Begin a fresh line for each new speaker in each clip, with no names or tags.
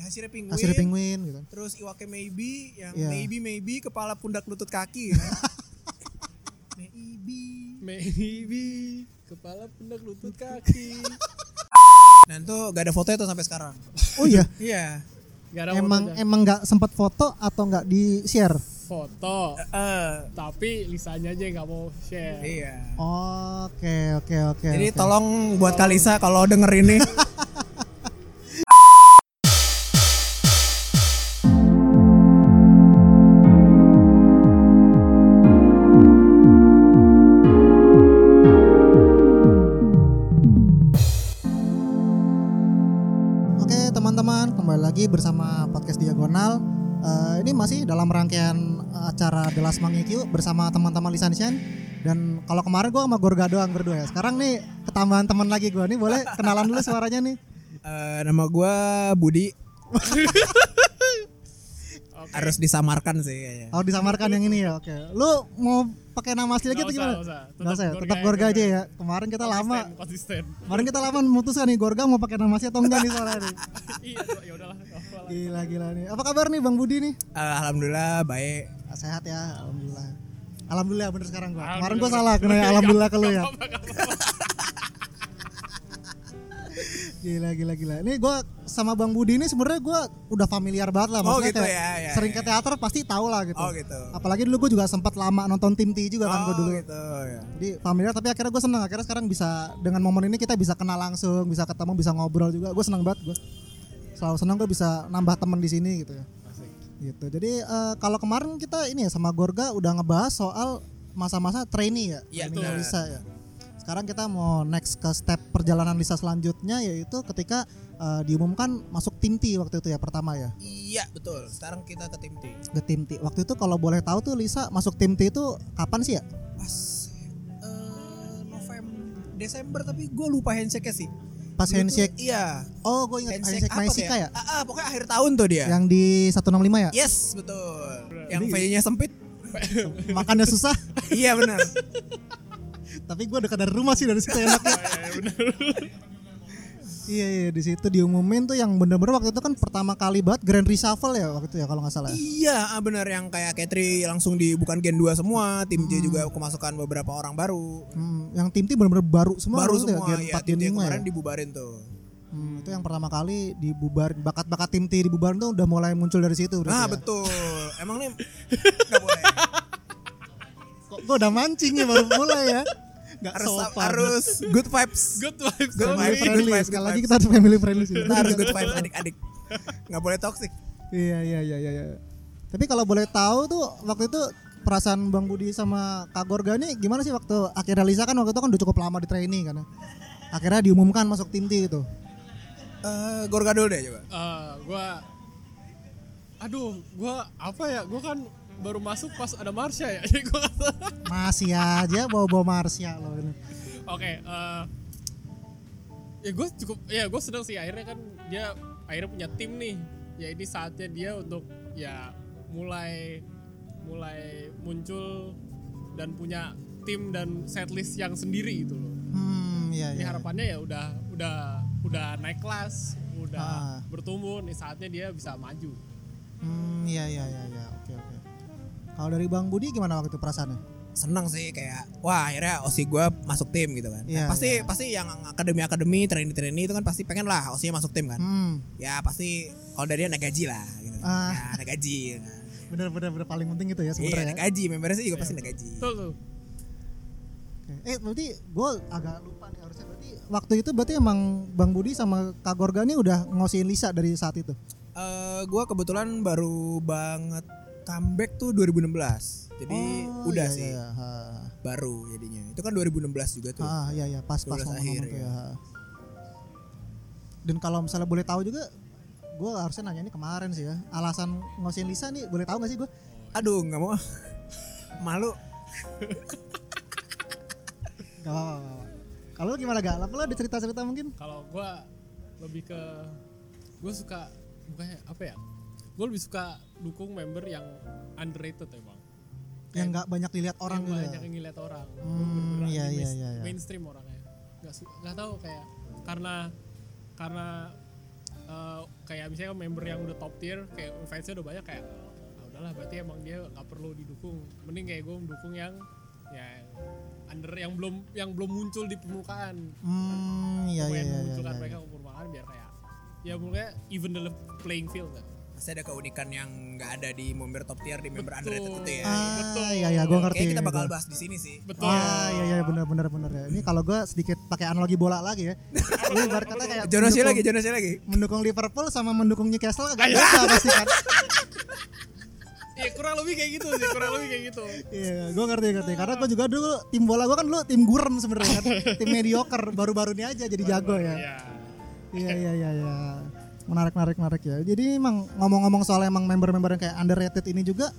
Hasirnya penguin.
Hasilnya penguin gitu.
Terus Iwake maybe yang
Iya.
maybe maybe kepala pundak lutut kaki ya. maybe.
Maybe kepala pundak lutut kaki.
Nah itu gak ada fotonya tuh sampai sekarang.
Oh iya,
Iya.
Gak ada
emang
fotonya.
emang nggak sempat foto atau nggak di share?
foto.
Eh,
Tapi lisanya aja yang nggak mau share.
iya.
Oke oke oke.
Jadi
oke.
tolong buat Kalisa kalau denger ini.
Oke teman-teman kembali lagi bersama podcast Diagonal. Eh, ini masih dalam rangkaian acara The Last Mang EQ bersama teman-teman Lisan Sian. Dan kalau kemarin gue sama Gorga doang berdua ya. Sekarang nih ketambahan teman lagi gue nih boleh kenalan dulu suaranya nih.
Eh, nama gua Budi.
Oke.
Harus disamarkan sih kayaknya.
Oh disamarkan yang ini ya. Oke. Lu mau pakai nama asli lagi atau
Nggak usah,
gimana?
nggak usah.
Nggak usah ya.
Tetap
Tetap
Gorga
Gorga
aja.
aja ya. Kemarin kita lama.
Konsisten.
Kemarin kita lama memutuskan nih Gorga mau pakai nama asli atau enggak nih suara nih.
konsisten. iya, ya udahlah. nggak apa-apa lah.
Gila gila nih. Apa kabar nih Bang Budi nih?
Eh, Alhamdulillah baik.
Ah, Sehat ya, alhamdulillah. Alhamdulillah bener sekarang gua. Kemarin gua salah kena ya, alhamdulillah ke lu ya.
Nggak apa-apa.
Gila gila gila. Ini gua sama Bang Budi ini sebenarnya gua udah familiar banget lah
Oh,
maksudnya
gitu
kayak
ya, ya,
sering
ya.
ke teater pasti tahu lah gitu.
Oh gitu.
Apalagi dulu gua juga sempat lama nonton Tim T juga kan gua
Oh,
dulu.
gitu ya.
Jadi familiar tapi akhirnya gua seneng akhirnya sekarang bisa dengan momen ini kita bisa kenal langsung, bisa ketemu, bisa ngobrol juga. Gua seneng banget gua. Selalu seneng gua bisa nambah temen di sini gitu ya. Gitu. Jadi eh, kalau kemarin kita ini ya sama Gorga udah ngebahas soal masa-masa trainee ya,
Iya,
trainee-nya
betul.
Lisa ya. Sekarang kita mau next ke step perjalanan Lisa selanjutnya yaitu ketika eh, diumumkan masuk tim T waktu itu ya pertama ya.
Iya betul. Sekarang kita ke tim T.
Ke tim T. Waktu itu kalau boleh tahu tuh Lisa masuk tim T itu kapan sih ya?
Pas eh, November Desember tapi gue lupa handshake sih.
Pas
Dulu tuh-
handshake.
Iya.
Oh, gue ingat handshake,
apa tuh
Maisika ya.
Ah, ah, pokoknya akhir tahun tuh dia.
Yang di 165 ya?
Yes betul. Yang V-nya sempit.
Makannya susah,
iya benar.
tapi gue dekat dari rumah sih dari situ
Oh,
enaknya.
Iya, iya, bener.
iya iya di situ diumumin tuh yang bener-bener waktu itu kan pertama kali banget Grand Reshuffle ya waktu itu ya kalau nggak salah. ya.
iya ah, benar yang kayak Katri langsung di bukan Gen 2 semua. Tim J juga kemasukan beberapa orang baru.
Hmm, yang tim tim benar-benar baru semua
baru
waktu itu
semua
ya, Gen
ya,
4
tim
Gen
J
5
kemarin
ya.
dibubarin tuh.
Hmm, itu yang pertama kali dibubar bakat-bakat tim T dibubarin tuh udah mulai muncul dari situ berarti
Nah
ya.
betul. Emang nih nggak boleh.
Kok gua udah mancing ya baru mulai ya. Nggak
Harus
sopan.
harus good vibes.
Good vibes.
Good
Family
vibes, good
friendly.
vibes,
Sekali
good
lagi
vibes.
kita harus family friendly sih.
Kita harus good vibes adik-adik. Nggak boleh toxic.
Iya iya iya iya. iya. Tapi kalau boleh tahu tuh waktu itu perasaan Bang Budi sama Kak Gorga nih gimana sih waktu akhirnya Lisa kan waktu itu kan udah cukup lama di training kan. ya. Akhirnya diumumkan masuk tim T gitu.
Eh, Gorga dulu deh coba.
Eh, gua Aduh, gua apa ya? Gua kan baru masuk pas ada Marsha ya. Jadi gua nggak tahu.
Masih aja bawa-bawa Marsya loh ini.
Oke, eh ya gue cukup, ya gue seneng sih akhirnya kan dia akhirnya punya tim nih. Ya ini saatnya dia untuk ya mulai mulai muncul dan punya tim dan setlist yang sendiri gitu loh.
Hmm iya
Jadi
iya.
harapannya ya udah udah udah naik kelas,
Ah.
udah bertumbuh nih saatnya dia bisa maju.
Hmm iya iya iya iya. Oke oke. Kalau dari Bang Budi gimana waktu itu perasaannya?
seneng sih kayak wah akhirnya osi gue masuk tim gitu kan
Iya,
pasti pasti yang akademi akademi trainee trainee itu kan pasti pengen lah osinya masuk tim kan
Hmm.
ya pasti kalau dari dia naik gaji lah gitu.
Ah.
Ya, naik gaji gitu.
Bener bener bener paling penting itu ya
iya
sebenarnya.
naik
ya.
gaji membernya sih juga pasti naik gaji
Betul tuh.
Oke. Eh berarti gue agak lupa nih harusnya berarti waktu itu berarti emang Bang Budi sama Kak Gorga nih udah ngosiin Lisa dari saat itu.
Eh gue kebetulan baru banget comeback tuh 2016 jadi
Oh,
udah
iya,
sih
Iya, ha.
baru jadinya itu kan 2016 juga tuh
Ah, iya, iya, pas pas
12
momen
akhir,
itu
ya.
ya. ha. Dan kalau misalnya boleh tahu juga, gue harusnya nanya ini kemarin sih ya. Alasan ngosin Lisa nih, boleh tahu gak sih gue?
aduh nggak mau malu
Gak apa-apa. Kalau lu gimana gak? Apa lu ada cerita-cerita mungkin?
kalau gue lebih ke gue suka bukannya apa ya gue lebih suka dukung member yang underrated ya bang
Yang nggak banyak dilihat orang
yang
gitu. ya?
banyak yang ngeliat orang Gua
Hmm,
bener-bener
iya,
anti
iya,
main-
iya, iya.
mainstream orangnya nggak su- nggak tahu kayak karena karena eh eh, kayak misalnya member yang udah top tier kayak fansnya udah banyak kayak "Ah, udahlah berarti emang dia nggak perlu didukung mending kayak gue mendukung yang yang under yang belum yang belum muncul di permukaan
Hmm, iya
Gue
iya iya.
yang
iya,
munculkan
iya.
mereka ke permukaan biar kayak ya mulai even the playing field kan
Masih ada keunikan yang nggak ada di member top tier di member underrated itu ya.
Ah,
Betul.
iya iya gue ngerti.
Kayaknya kita bakal
gua.
bahas di sini sih.
betul
Ah, iya iya benar benar benar ya. Ini kalau gue sedikit pakai analogi bola lagi ya. Ini ibarat kata kayak
Jonas
mendukung-
lagi, Jonas lagi.
Mendukung Liverpool sama mendukung Newcastle agak beda pasti kan.
ya kurang lebih kayak gitu sih kurang lebih kayak gitu
Iya, gue ngerti ngerti. Karena gue juga dulu tim bola gue kan dulu tim gurem sebenarnya kan, tim mediocre. Baru-baru ini aja jadi jago ya.
ya
Iya iya iya iya. Menarik menarik menarik ya. Jadi emang ngomong-ngomong soal emang member-member yang kayak underrated ini juga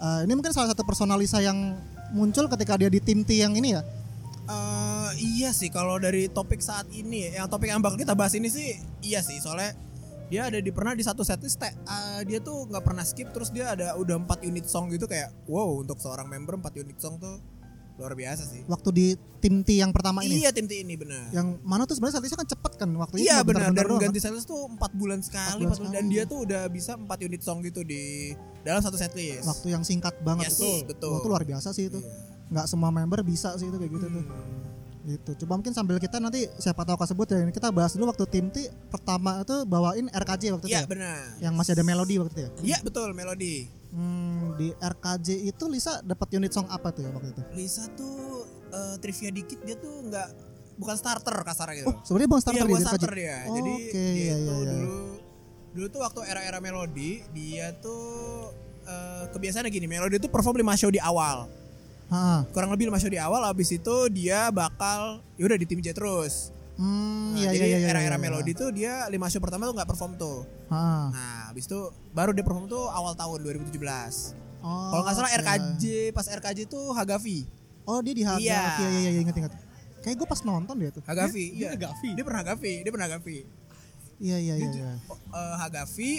eh, ini mungkin salah satu personalisa yang muncul ketika dia di tim T yang ini ya.
Eh, iya sih kalau dari topik saat ini yang topik yang bakal kita bahas ini sih iya sih soalnya dia ada di pernah di satu setlist te- eh, dia tuh nggak pernah skip terus dia ada udah 4 unit song gitu kayak wow untuk seorang member 4 unit song tuh luar biasa sih.
Waktu di tim T yang pertama ini.
Iya tim T ini benar.
Yang mana tuh sebenarnya statisnya kan cepet kan waktu itu.
Iya
cuma
benar
bentar-bentar
dan
doang kan.
ganti setlist tuh 4 bulan sekali,
4 bulan
empat bulan. dan
sekali.
dia tuh udah bisa 4 unit song gitu di dalam satu setlist.
kan. Waktu yang singkat banget
Yes,
itu.
betul.
Wah, itu luar biasa sih itu.
Iya.
nggak semua member bisa sih itu kayak gitu tuh
Hmm,
gitu coba mungkin sambil kita nanti siapa tahu kesebut ya ini kita bahas dulu waktu tim T pertama itu bawain RKJ waktu
Iya
itu ya?
benar.
yang masih ada melodi waktu itu ya
Iya betul melodi.
hmm, di RKJ itu Lisa dapat unit song apa tuh ya waktu itu
Lisa tuh eh, trivia dikit dia tuh nggak bukan starter kasar gitu.
oh sebenarnya bukan
iya,
starter
bukan
ya di RKJ
starter dia.
Oh,
Jadi
oke,
dia
iya,
itu
iya, iya.
dulu dulu tuh waktu era-era melodi dia tuh eh, kebiasaannya gini melodi tuh perform 5 show di awal
Ha-ha.
kurang lebih 5 show di awal abis itu dia bakal yaudah di tim J terus Nah,
hmm, iya,
jadi
iya, iya,
era-era
iya, iya.
melodi tuh dia 5 show pertama tuh nggak perform tuh
Ha-ha.
nah abis itu baru dia perform tuh awal tahun 2017
oh,
kalau nggak salah
oke.
RKJ pas RKJ tuh Hagafi
oh dia di Hagafi
Iya.
iya iya iya ingat ingat kayak gue pas nonton dia tuh
Hagafi
Dia- dia
iya.
Hagafi.
dia pernah Hagafi dia pernah Hagafi
iya iya iya, iya.
Eh, Hagafi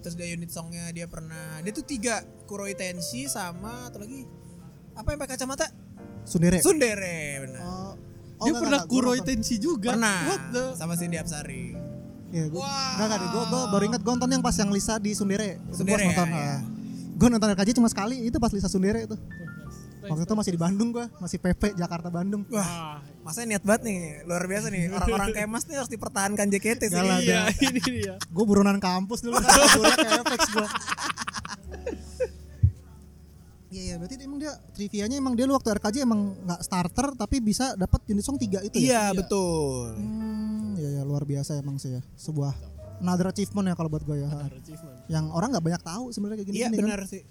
terus dia unit songnya dia pernah dia tuh tiga Kuroi Tenshi sama atau lagi apa yang pakai kacamata
Sundere
Sundere benar
oh,
dia pernah kuroi
itu
tensi juga
pernah
what the
sama Cindy Apsari
Iya, gue
Wah.
enggak enggak, gue gue baru ingat gue nonton yang pas yang Lisa di Sundere. Itu gue
Sundere ya,
nonton.
ya.
Gue nonton RKJ cuma sekali, itu pas Lisa Sundere itu. Waktu itu masih di Bandung gue, masih PP Jakarta Bandung.
wah masanya niat banget nih luar biasa nih orang-orang kayak mas nih harus dipertahankan JKT sih
Galak.
iya ini dia
Gue buronan kampus dulu kan, gue kayak Apex gue. Iya iya, berarti emang dia trivianya emang dia lu waktu RKJ emang nggak starter tapi bisa dapat unit song 3 itu ya.
iya betul
Hmm, iya iya luar biasa emang sih ya. Sebuah another achievement ya kalau buat gue ya.
achievement
Yang orang nggak banyak tahu sebenarnya kayak gini.
iya
gini kan.
benar sih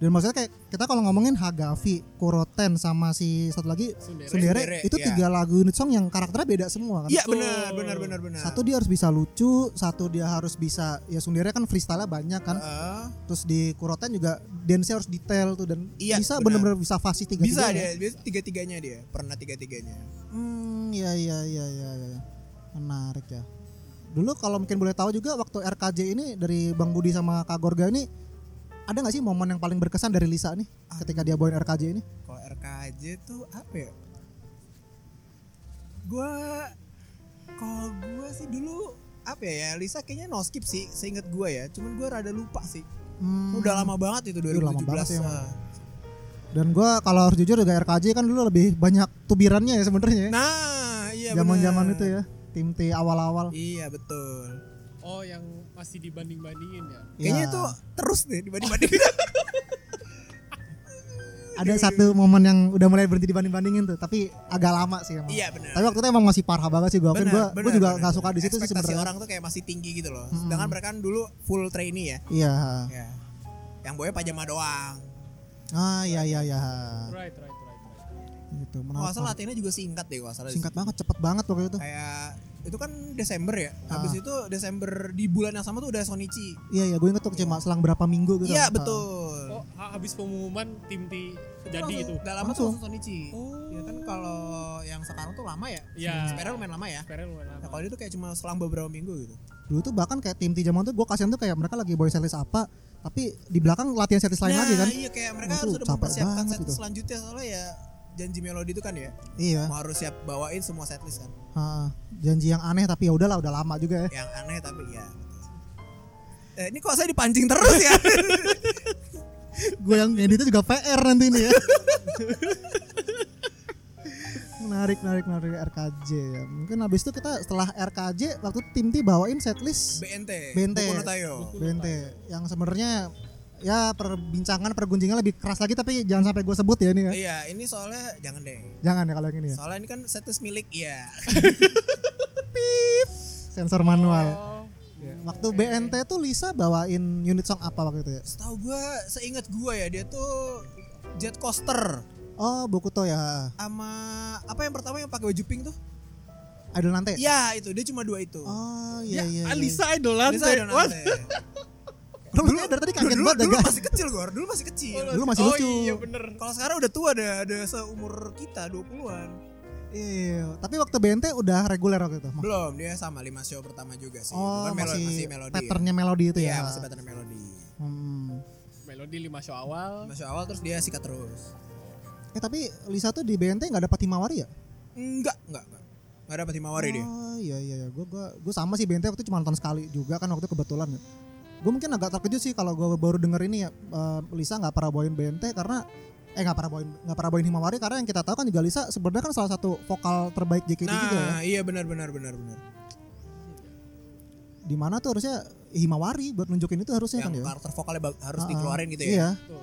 Dan maksudnya kayak kita kalau ngomongin Hagafi, Kuroten sama si satu lagi
Sundere.
Sundere,
Sundere, itu
iya.
tiga lagu unit song yang karakternya beda semua kan.
iya
Betul.
benar benar benar benar
Satu dia harus bisa lucu, satu dia harus bisa ya Sundere kan freestyle banyak kan.
Eh,
Terus di Kuroten juga dance harus detail tuh dan
Iya,
bisa
benar.
bener-bener bisa fasih ya. tiga
bisa dia dia tiga-tiganya dia pernah tiga-tiganya
Hmm, iya iya iya iya iya. Menarik ya. Dulu kalau mungkin boleh tahu juga waktu RKJ ini dari Bang Budi sama Kak Gorga ini ada nggak sih momen yang paling berkesan dari Lisa nih ketika dia bawain RKJ ini?
kalau RKJ tuh apa ya? Gua kalau gua sih dulu apa ya? Lisa kayaknya no skip sih, seingat gua ya. Cuman gua rada lupa sih.
Hmm.
Udah lama banget itu 2017.
Iya, lama banget sih emang.
Ah.
Dan gue kalau harus jujur juga RKJ kan dulu lebih banyak tubirannya ya sebenarnya. ya.
Nah, iya
Zaman-zaman
bener.
itu ya, tim T awal-awal.
Iya, betul.
oh yang masih dibanding bandingin ya
Kayaknya
Ya.
itu terus deh dibanding-banding.
ada satu momen yang udah mulai berhenti dibanding-bandingin tuh, tapi agak lama sih emang.
iya, benar.
Tapi waktu itu emang masih parah banget sih gue.
Benar,
Gue
benar,
juga
benar.
nggak suka di situ sih
Ekspektasi
sebenarnya. Hmm.
orang tuh kayak masih tinggi gitu loh. Sedangkan mereka kan dulu full trainee ya.
Iya.
Ya. Yang boy pajama doang.
Ah iya iya iya.
right right right right
Gitu.
Kalau nggak
Menarik.
salah latihannya juga singkat deh kalau nggak salah.
Singkat banget, cepet banget waktu itu.
kayak itu kan Desember ya.
Ah.
Habis itu Desember di bulan yang sama tuh udah Sonichi.
Iya iya, gue inget tuh cuma selang berapa minggu gitu.
Iya
Ah.
betul.
oh ha- habis pengumuman tim T jadi
Langsung-
itu Oh.
Gak lama tuh
Langsung.
langsung Sonichi. Ya kan kalau yang sekarang tuh lama ya.
Iya.
Sepeda lumayan lama ya.
Keren lumayan
Nah,
lama.
kalau dia tuh kayak cuma selang beberapa minggu gitu.
Ah, Dulu tuh bahkan kayak tim T zaman tuh gue kasihan tuh kayak mereka lagi boy setlist apa, tapi di belakang latihan setlist lain
nah,
lagi kan.
Iya kayak mereka
Aduh,
harus udah
capek
mempersiapkan
banget
set
gitu.
selanjutnya soalnya ya janji melodi itu kan ya.
Iya.
Mau harus siap bawain semua setlist kan.
Ah, janji yang aneh tapi ya udahlah udah lama juga ya.
Yang aneh tapi ya. betul. Eh, ini kok saya dipancing terus ya?
gue yang editnya juga PR nanti nih ya. menarik, menarik, menarik RKJ ya. Mungkin habis itu kita setelah RKJ waktu tim T bawain setlist
BNT.
BNT.
Boku no Tayo.
BNT yang sebenarnya ya perbincangan pergunjingan lebih keras lagi tapi jangan sampai gue sebut ya ini ya.
Iya, ini soalnya jangan deh.
Jangan ya kalau yang ini ya.
Soalnya ini kan setlist milik ya.
Sensor manual.
Oh,
Waktu BNT tuh Lisa bawain unit song apa waktu itu ya?
Setahu gue, seingat gue ya dia tuh jet coaster
Oh, Bokuto ya.
sama apa yang pertama yang pakai baju pink tuh?
Idol nanti.
Ya itu dia cuma dua itu.
Iya. Oh,
Ya,
iya iya. iya.
Alisa Idolante.
Lisa ada
What?
nanti.
Lu makanya dari tadi kaget
Dulu,
banget ya,
dulu
Gaga.
masih kecil gue, dulu masih kecil.
Dulu masih
oh,
lucu.
iya bener.
Kalau sekarang udah tua, ada ada seumur kita 20-an.
Iya, tapi waktu BNT udah reguler waktu itu.
Belum, dia sama lima show pertama juga sih.
Oh,
Bukan melo-
masih,
masih melodi. ya.
patternnya melodi itu
Iya,
ya.
masih pattern melodi.
Hmm.
Melodi lima show awal.
Masuk awal terus dia sikat terus.
Eh tapi Lisa tuh di BNT nggak dapat Himawari ya?
Enggak, enggak, enggak. Enggak dapat himawari dia.
Oh iya iya iya. Gue gua gua sama sih BNT waktu itu cuma nonton sekali juga kan waktu itu kebetulan ya. Gue mungkin agak terkejut sih kalau gue baru denger ini ya eh, Lisa nggak pernah bawain BNT karena eh nggak pernah bawain nggak pernah bawain Himawari karena yang kita tahu kan juga Lisa sebenarnya kan salah satu vokal terbaik JKT juga ya.
Nah, iya benar benar benar benar.
Di mana tuh harusnya Himawari buat nunjukin itu harusnya
Yang
kan ya.
karakter vokalnya bag- harus
Ah, ah.
dikeluarin gitu ya.
Iya.
Tuh.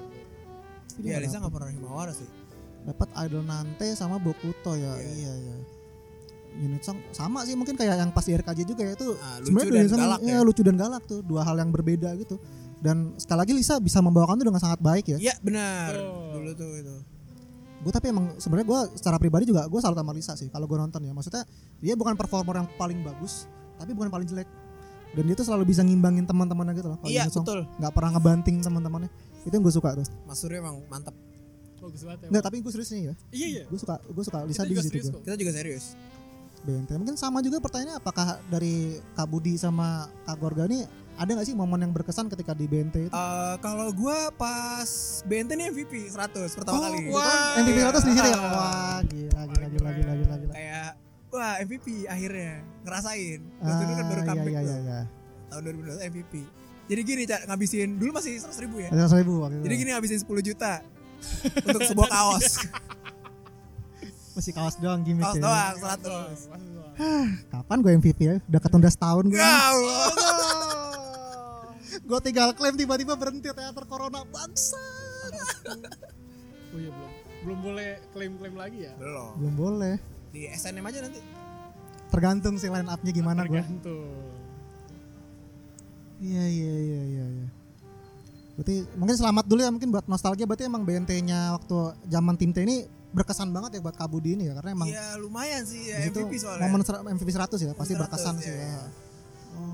Iya,
Dia
Lisa
nggak
enggak pernah himawari sih.
dapat Idol Nante sama Bokuto ya.
Iya.
Iya ya. Unit song sama sih mungkin kayak yang pas di RKJ juga ya itu
Ah, lucu
sebenarnya
dan
unit song,
galak
ya,
ya.
lucu dan galak tuh dua hal yang berbeda gitu. Dan sekali lagi Lisa bisa membawakan itu dengan sangat baik ya.
Iya, benar.
Betul.
Dulu tuh itu.
Gue tapi emang sebenarnya gue secara pribadi juga gue salut sama Lisa sih kalau gue nonton ya. Maksudnya dia bukan performer yang paling bagus tapi bukan paling jelek. Dan dia tuh selalu bisa ngimbangin teman-temannya gitu loh. kalau
Iya,
unit song.
betul. Iya.
Nggak pernah ngebanting teman-temannya. Itu yang gue suka tuh.
Mas Surya emang mantap.
Bagus banget ya.
Nggak tapi gue serius nih ya.
Iya iya.
Gue suka gue suka Lisa
Kita
di
juga
situ
serius
gue.
kok.
Kita juga serius.
BNT. Mungkin sama juga pertanyaannya apakah dari Kak Budi sama Kak Gorga ini ada nggak sih momen yang berkesan ketika di BNT itu?
Eh kalau gua pas BNT nih MVP 100 pertama
Oh,
kali.
wah.
MVP
iya.
100 di situ ya. Wah, gila gila gila gila gila. gila.
Kayak wah MVP akhirnya ngerasain. Terus dulu kan baru
Ah,
comeback
iya, iya,
tuh.
iya.
tahun 2012 MVP. Jadi gini, Cak, ngabisin dulu masih 100 ribu ya.
iya. Ada seratus ribu waktu itu.
Jadi gini ngabisin 10 juta untuk sebuah kaos.
masih kaos doang gimmick
kaos
ya.
doang 100.
Kapan gue MVP ya? Udah ketunda setahun gue.
Ya Allah.
gue tinggal klaim tiba-tiba berhenti teater corona bangsa.
Oh iya belum. Belum boleh klaim-klaim lagi ya.
Belum.
Belum boleh.
Di SNM aja nanti.
Tergantung sih line up-nya
ya.
gimana gue.
kan? Tergantung.
Iya iya iya iya iya. Berarti mungkin selamat dulu ya mungkin buat nostalgia berarti emang BNT-nya waktu zaman tim T ini berkesan banget ya buat Kabudi ini ya karena emang
Iya, lumayan sih ya
di situ
MVP soalnya.
momen ser- MVP 100 ya pasti
100,
berkesan sih
iya,
ya.
iya.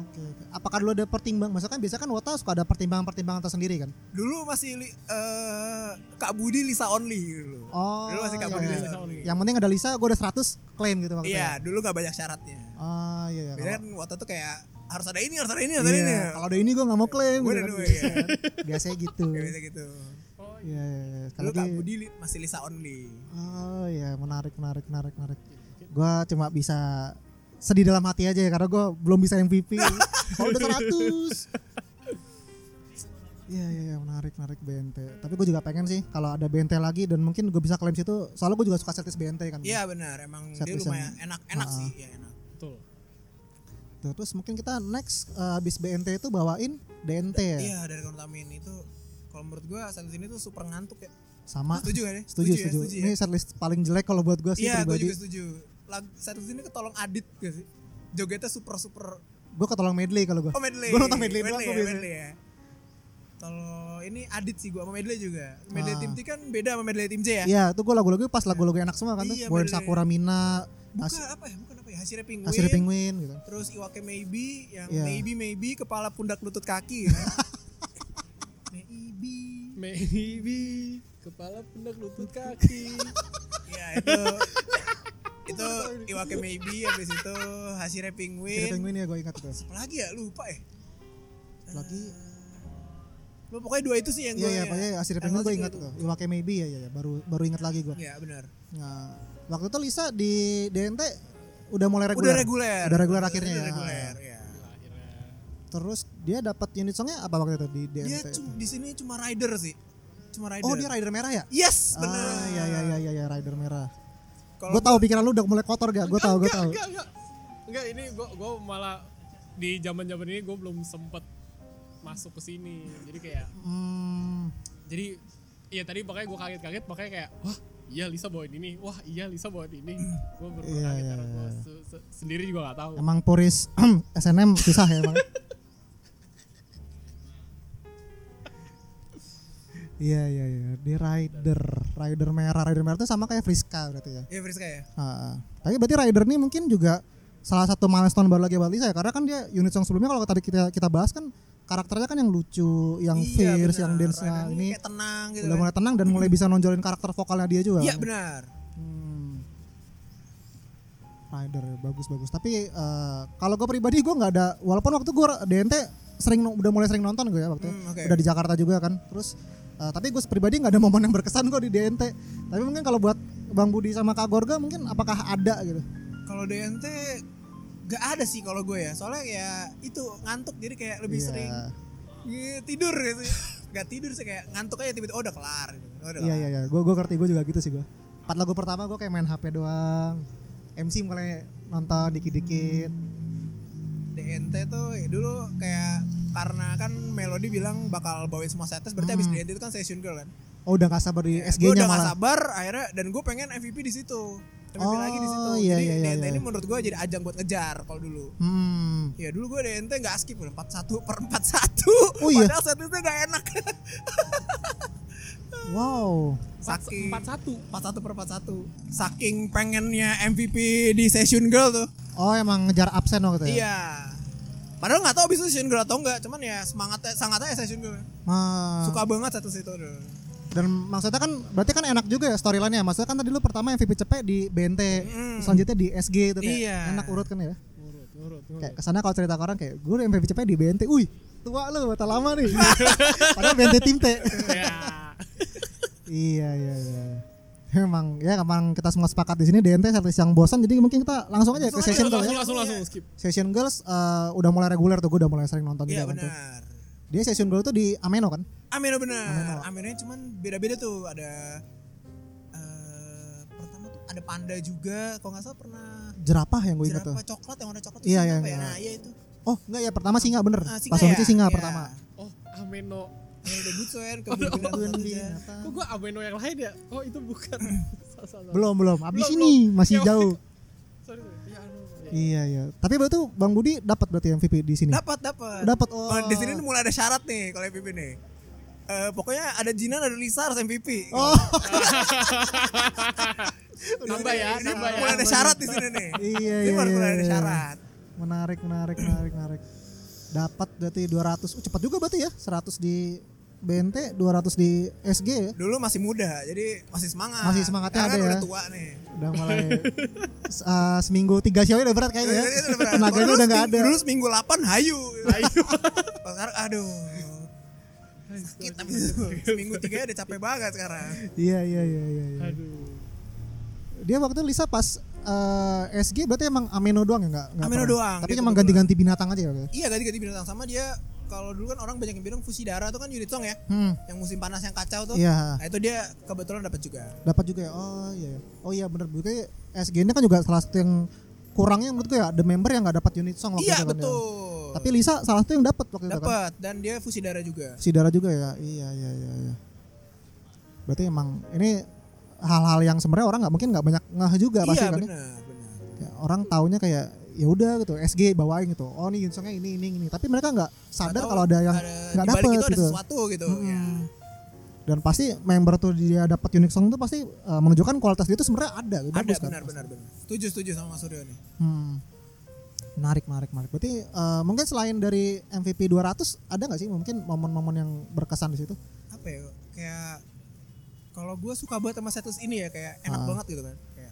Oke. oke. Apakah dulu ada pertimbang? Maksudnya kan biasanya kan Wota suka ada pertimbangan-pertimbangan tersendiri kan.
Dulu masih li- eh, Kak Budi Lisa Only gitu. dulu.
Oh.
dulu masih Kak
iya,
Budi
iya.
Lisa Only.
Yang penting ada Lisa, gue udah 100 klaim gitu waktu
Iya,
itu. ya.
dulu gak banyak syaratnya.
Ah iya iya.
Beda kan
Kalau-
waktu itu kayak harus ada ini, harus ada ini, harus ada ini.
Iya, kalau ada ini gue gak mau klaim
Gue
gitu
ada
kan.
dua ya.
Biasanya gitu.
Kayak biasa gitu.
Oh iya.
Iya iya iya. Sekali
Dulu Kak
lagi-
Budi li- masih Lisa Only.
Oh iya menarik menarik menarik menarik. Gua cuma bisa sedih dalam hati aja ya karena gua belum bisa MVP. Kalau udah 100. Iya iya iya, menarik menarik BNT. Tapi gue juga pengen sih kalau ada BNT lagi dan mungkin gue bisa klaim situ. Soalnya gue juga suka setlist BNT kan.
Iya benar, emang
Set
dia
design.
lumayan enak-enak
Ah.
sih, ya enak.
Betul.
Tuh, Terus mungkin kita next eh, abis BNT itu bawain DNT ya.
Iya dari Kontamin itu kalau menurut gua saat ini tuh super ngantuk ya.
Sama.
Setuju gak nih?
Setuju
ya,
setuju.
ya?
Ini setlist paling jelek kalau buat gue sih
Iya, gua juga
pribadi.
setuju. Lag saat ini ketolong Adit gak sih? Jogetnya super super
Gue ketolong medley kalau gue.
Oh medley.
Gua nonton medley doang, gua
ya,
biasanya.
medley ya. Kalau ini Adit sih gua sama medley juga. Medley
Ah.
tim T kan beda sama medley tim J ya.
Iya, itu gue lagu-lagu pas lagu-lagu enak semua kan tuh.
Iya,
Boyan
medley.
Sakura Mina, As-
Bukan apa ya? Bukan apa ya? Hasilnya penguin.
Asri Penguin gitu.
Terus Iwake Maybe yang
Iya.
maybe maybe kepala pundak lutut kaki. ya. maybe.
Maybe kepala pundak lutut kaki.
Ya itu itu Iwake Maybe habis itu Hashire
Asri
Penguin.
Penguin ya gue ingat tuh.
Apa lagi ya lupa ya.
Lagi
Lu pokoknya dua itu sih yang
iya
gue.
iya pokoknya Asri Penguin gue ingat tuh. Iwake Maybe ya, ya ya baru baru ingat lagi gue.
Iya benar.
Nah, waktu itu Lisa di DNT udah mulai reguler.
Udah reguler.
Udah reguler akhirnya
Udah
ya.
reguler, ya.
Akhirnya.
Terus Dia dapat unit songnya apa waktu itu di DNT?
Dia cum- di sini cuma rider sih. Cuma rider.
Iya, oh, dia rider merah ya?
Yes, benar.
Ah, ya ya ya ya ya rider merah.
Kalau
Gue tahu pikiran lu udah mulai kotor gak? Gue tahu, gue
Enggak,
tahu.
Enggak, enggak. Enggak, ini gua gua malah di zaman-zaman ini gua belum sempet masuk ke sini. Jadi kayak
Hmm,
jadi iya tadi makanya gua kaget-kaget makanya kayak wah iya Lisa bawain ini wah iya Lisa bawain ini gua bener
Iya,
kaget
iya,
karena gua
iya.
se- se- sendiri juga gak tahu
emang puris SNM susah ya emang. Iya iya iya, di rider, rider merah, rider merah itu sama kayak Friska berarti ya.
ya Friska ya.
Ah, ah. tapi berarti Rider nih mungkin juga salah satu milestone baru lagi buat Lisa ya karena kan dia unit song sebelumnya kalau tadi kita kita bahas kan karakternya kan yang lucu, yang
Iya, benar.
fierce, yang dance-nya
Rider
ini
kayak tenang gitu.
udah
kan.
mulai tenang dan mulai bisa nonjolin karakter vokalnya dia juga.
Iya,
kan.
benar.
Hmm. Rider bagus bagus. Tapi eh, kalau gue pribadi gue nggak ada. Walaupun waktu gue DNT sering no- udah mulai sering nonton gue ya waktu
Hmm, oke.
udah di Jakarta juga kan. Terus eh, tapi gue pribadi nggak ada momen yang berkesan gue di DNT. Tapi mungkin kalau buat Bang Budi sama Kak Gorga mungkin apakah ada gitu?
Kalau DNT gak ada sih kalau gue ya. Soalnya ya itu ngantuk jadi kayak lebih
Iya.
sering ya, tidur gitu. gak tidur sih kayak ngantuk aja tiba-tiba oh, udah kelar gitu. Oh, udah
Iya
kelar.
iya iya. Gue gue ngerti gue juga gitu sih gue. Empat lagu pertama gue kayak main HP doang. MC mulai nonton dikit-dikit.
DNT tuh ya dulu kayak karena kan Melody bilang bakal bawain semua setes berarti abis DNT itu kan session girl kan.
Oh udah gak sabar
Ya,
di
gua
SG-nya
udah gak
malah.
sabar akhirnya dan gue pengen MVP di situ. MVP
Oh,
lagi di situ.
iya,
jadi
iya, iya,
DNT
iya.
ini menurut gue jadi ajang buat ngejar kalau dulu.
Hmm.
Ya dulu gue DNT gak skip udah 41 per 41
Oh, iya.
Padahal setlistnya gak enak
Wow.
Saking
empat satu
41 per 41 Saking pengennya MVP di Session Girl tuh
Oh emang ngejar absen waktu itu ya?
Iya Padahal gak tau abis itu Session Girl atau enggak Cuman ya semangatnya sangat aja Session Girl
Ma-
Suka banget satu situ tuh
Dan maksudnya kan berarti kan enak juga ya storyline-nya. Maksudnya kan tadi lu pertama MVP cepet di BNT,
Mm.
selanjutnya di SG itu kayak
Iya.
enak urut kan ya.
nurut nurut nurut
Kayak kesana kalau cerita ke orang kayak gue MVP cepet di BNT, uih tua lu mata lama nih. Padahal BNT tim T.
ya
iya iya iya. Emang ya emang kita semua sepakat di sini DNT satu yang bosan jadi mungkin kita langsung aja
Langsung
ke
aja,
session
langsung
girls
langsung
ya.
langsung, langsung skip
Session girls eh, udah mulai reguler tuh gue udah mulai sering nonton
Iya
juga kan tuh.
benar
Dia session girls tuh di Ameno kan?
Amino oh benar Aminonya cuman beda-beda tuh Ada eh, Pertama tuh ada panda juga Kalau gak salah pernah
Jerapah yang gue ingat Oh, tuh.
Jerapah coklat yang warna coklat
Iya,
itu
iya,
apa ya?
iya.
Nah iya itu
Oh enggak ya pertama singa bener.
Ah,
Pas waktu itu
Iya.
singa pertama.
oh ameno
Yang udah butsen ke Bun Binatang aja.
kok gua ameno yang lain ya oh itu bukan Salah, salah, salah.
Belum belum. Abis
Belum,
ini
Iya.
masih
Ya,
jauh.
sorry sorry ya aduh ya.
Iya iya. Tapi berarti Bang Budi dapat berarti MVP di sini.
Dapat dapat.
Dapat, oh.
Kalau Di sini nih mulai ada syarat nih kalau MVP nih. Eh, pokoknya ada Jinan ada Lisa harus MVP.
Oh.
nambah ya
Ini
nambah ya
mulai ada syarat di sini nih.
iya
Ini
iya.
mulai mulai ada
iya.
syarat.
Menarik menarik menarik menarik. Dapat berarti 200. Oh, cepat juga berarti ya. 100 di BNT, 200 di SG ya.
Dulu masih muda, jadi masih semangat.
Masih semangatnya
Karena
ada
udah
ya.
tua nih.
Udah mulai s- uh, seminggu tiga show udah berat kayaknya ya.
Jadi itu Iya, udah berat. Kalau
Tenaganya
dulu
udah nggak
seminggu-
ada.
Dulu seminggu 8 hayu. Hayu. Sekarang aduh. Sakit tapi itu. seminggu 3 udah capek banget sekarang.
Iya iya iya iya. iya.
aduh
dia waktu itu Lisa pas eh, SG berarti emang Ameno doang ya nggak? nggak
Ameno
pernah.
doang, Gitu,
Tapi
dia
emang
kebetulan.
ganti-ganti binatang aja ya. Kak?
Iya ganti-ganti binatang sama dia kalau dulu kan orang banyak yang bilang fusi darah itu kan unit song ya.
Hmm.
yang musim panas yang kacau tuh.
Iya.
Nah, itu dia kebetulan dapat juga.
Dapat juga ya. Oh iya. iya. Oh iya bener berarti SG ini kan juga salah satu yang kurangnya menurut gue ya the member yang nggak dapat unit song waktu
iya,
itu kan ya.
betul.
Tapi Lisa salah satu yang dapat waktu itu kan.
dapat dan dia fusi darah juga.
Si Dara juga ya. Iya iya iya. iya. Berarti emang ini hal-hal yang sebenarnya orang nggak mungkin nggak banyak ngeh juga pasti
iya,
kan. ya.
benar, benar.
Kayak orang taunya kayak ya udah gitu SG bawain gitu. Oh ini unit songnya ini ini ini. Tapi mereka nggak sadar
Atau
kalau ada yang
di
Iya. nggak
balik
dapat
itu ada
gitu.
sesuatu gitu. Ya.
dan pasti member tuh dia dapat unique song tuh pasti uh, menunjukkan kualitas dia tuh sebenarnya ada gitu.
Ada
Bagus kan?
benar, benar, benar. Setuju, setuju sama Mas Suryo nih.
Hmm. Menarik, menarik, menarik. Berarti uh, mungkin selain dari MVP 200 ada nggak sih mungkin momen-momen yang berkesan di situ?
Apa ya? Kayak kalau gue suka banget sama status ini ya kayak enak
Ah.
banget gitu kan. Kayak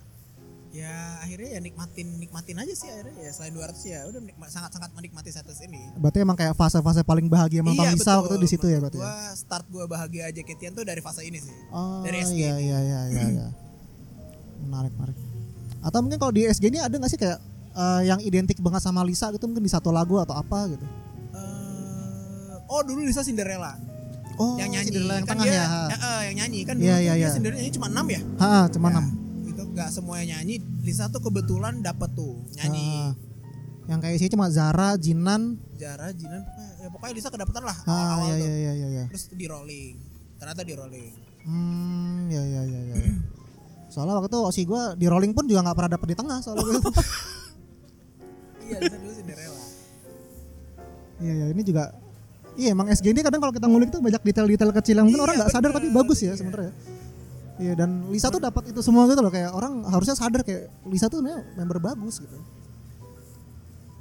ya akhirnya ya nikmatin nikmatin aja sih akhirnya ya selain 200 ya udah menikma- sangat-sangat menikmati status ini.
Berarti emang kayak fase-fase paling bahagia
Iya,
menonton Lisa waktu itu di situ ya berarti.
Gue
ya?
start gue bahagia aja Ketian tuh dari fase ini sih.
Oh
dari Eh, SG.
iya iya iya iya. iya. Menarik, menarik. Atau mungkin kalau di SG ini ada eh, nggak sih kayak uh, yang identik banget sama Lisa gitu mungkin di satu lagu atau apa gitu?
Eh, oh dulu Lisa Cinderella
Oh,
yang nyanyi
Cinderella yang
kan
tengah
dia,
ya. ha.
ya, eh, yang nyanyi kan
Iya,
dulu tuh
iya,
dia
iya.
Cinderella nyanyi cuma 6 ya
Ha, ha, cuma enam.
itu nggak semuanya nyanyi Lisa tuh kebetulan dapet tuh nyanyi
Ah. yang kayak isinya cuma Zara, Jinan,
Jara Jinan pokoknya, ya pokoknya Lisa kedapetan lah
ah
awal-awal
ya
tuh
ya ya ya ya.
terus di rolling ternyata di rolling
Hmm, ya ya ya ya. Soalnya waktu itu si gue di rolling pun juga nggak pernah dapet di tengah soalnya gua.
iya Lisa dulu Cinderella
Iya ya, ini juga Iya emang SG ini kadang kalau kita ngulik tuh banyak detail-detail kecil yang mungkin
Iya,
orang nggak sadar tapi
bener,
bagus ya
iya.
sebenarnya. Iya dan Lisa tuh dapat itu semua gitu loh kayak orang harusnya sadar kayak Lisa tuh sebenarnya member bagus gitu.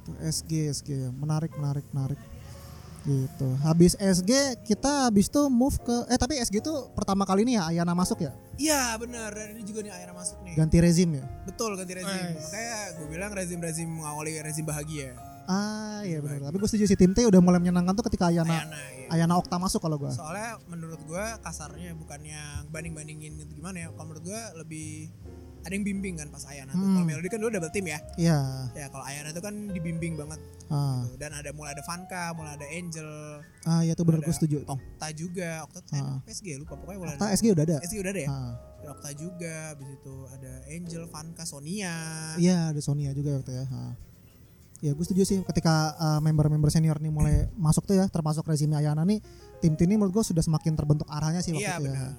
Itu SG SG ya. menarik menarik menarik gitu. Habis SG kita habis tuh move ke eh tapi SG tuh pertama kali ini ya Ayana masuk ya
iya benar dan ini juga nih akhirnya masuk nih
ganti rezim ya.
betul ganti rezim
Nice.
makanya gue bilang rezim rezim mengawali rezim bahagia
Ah iya benar. Tapi gue setuju si Tim T udah mulai menyenangkan tuh ketika Ayana
Ayana iya.
Ayana Okta masuk kalau gue.
soalnya menurut gue kasarnya bukannya banding bandingin gitu gimana ya kalau menurut gue lebih ada yang bimbing kan pas Ayana tuh
Hmm.
kalau Melody kan dulu double team ya
Iya.
ya kalau Ayana tuh kan dibimbing banget
Ah,
tuh. dan ada mulai ada Vanka mulai ada Angel
ah iya tuh benar gue
Ada
setuju.
Okta juga Okta tuh eh,
Ah.
PSG lupa pokoknya mulai
Okta
ada
SG udah ada.
PSG udah ada ya
Ah,
ada Okta juga habis itu ada Angel Vanka Sonia
Iya ada Sonia juga waktu ya. Ah. Ya gue setuju sih ketika uh, member-member senior nih mulai masuk tuh ya termasuk rezimnya Ayana nih tim tim ini menurut gue sudah semakin terbentuk arahnya sih waktu
iya
itu ya.
benar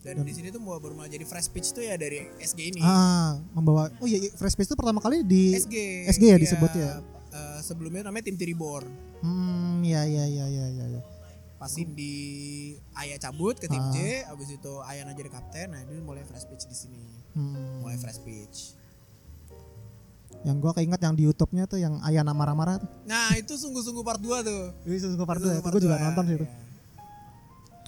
dan, di sini tuh mau baru mulai jadi fresh pitch tuh ya dari SG ini
Ah membawa oh iya iya, Fresh Space itu pertama kali di
SG
SG ya disebut ya?
Iya, eh, sebelumnya namanya tim Tiribor
hmm ya ya ya ya ya ya.
pas di Ayah cabut ke tim
Ah.
J abis itu Ayah jadi kapten nah dia mulai fresh pitch di sini
Hmm.
mulai fresh pitch
Yang gue keinget yang di YouTube-nya tuh yang Ayana marah-marah tuh.
nah itu sungguh-sungguh part 2 tuh
Ini sungguh part
Itu
dua ya,
sungguh
gue juga
dua,
nonton sih itu.
iya.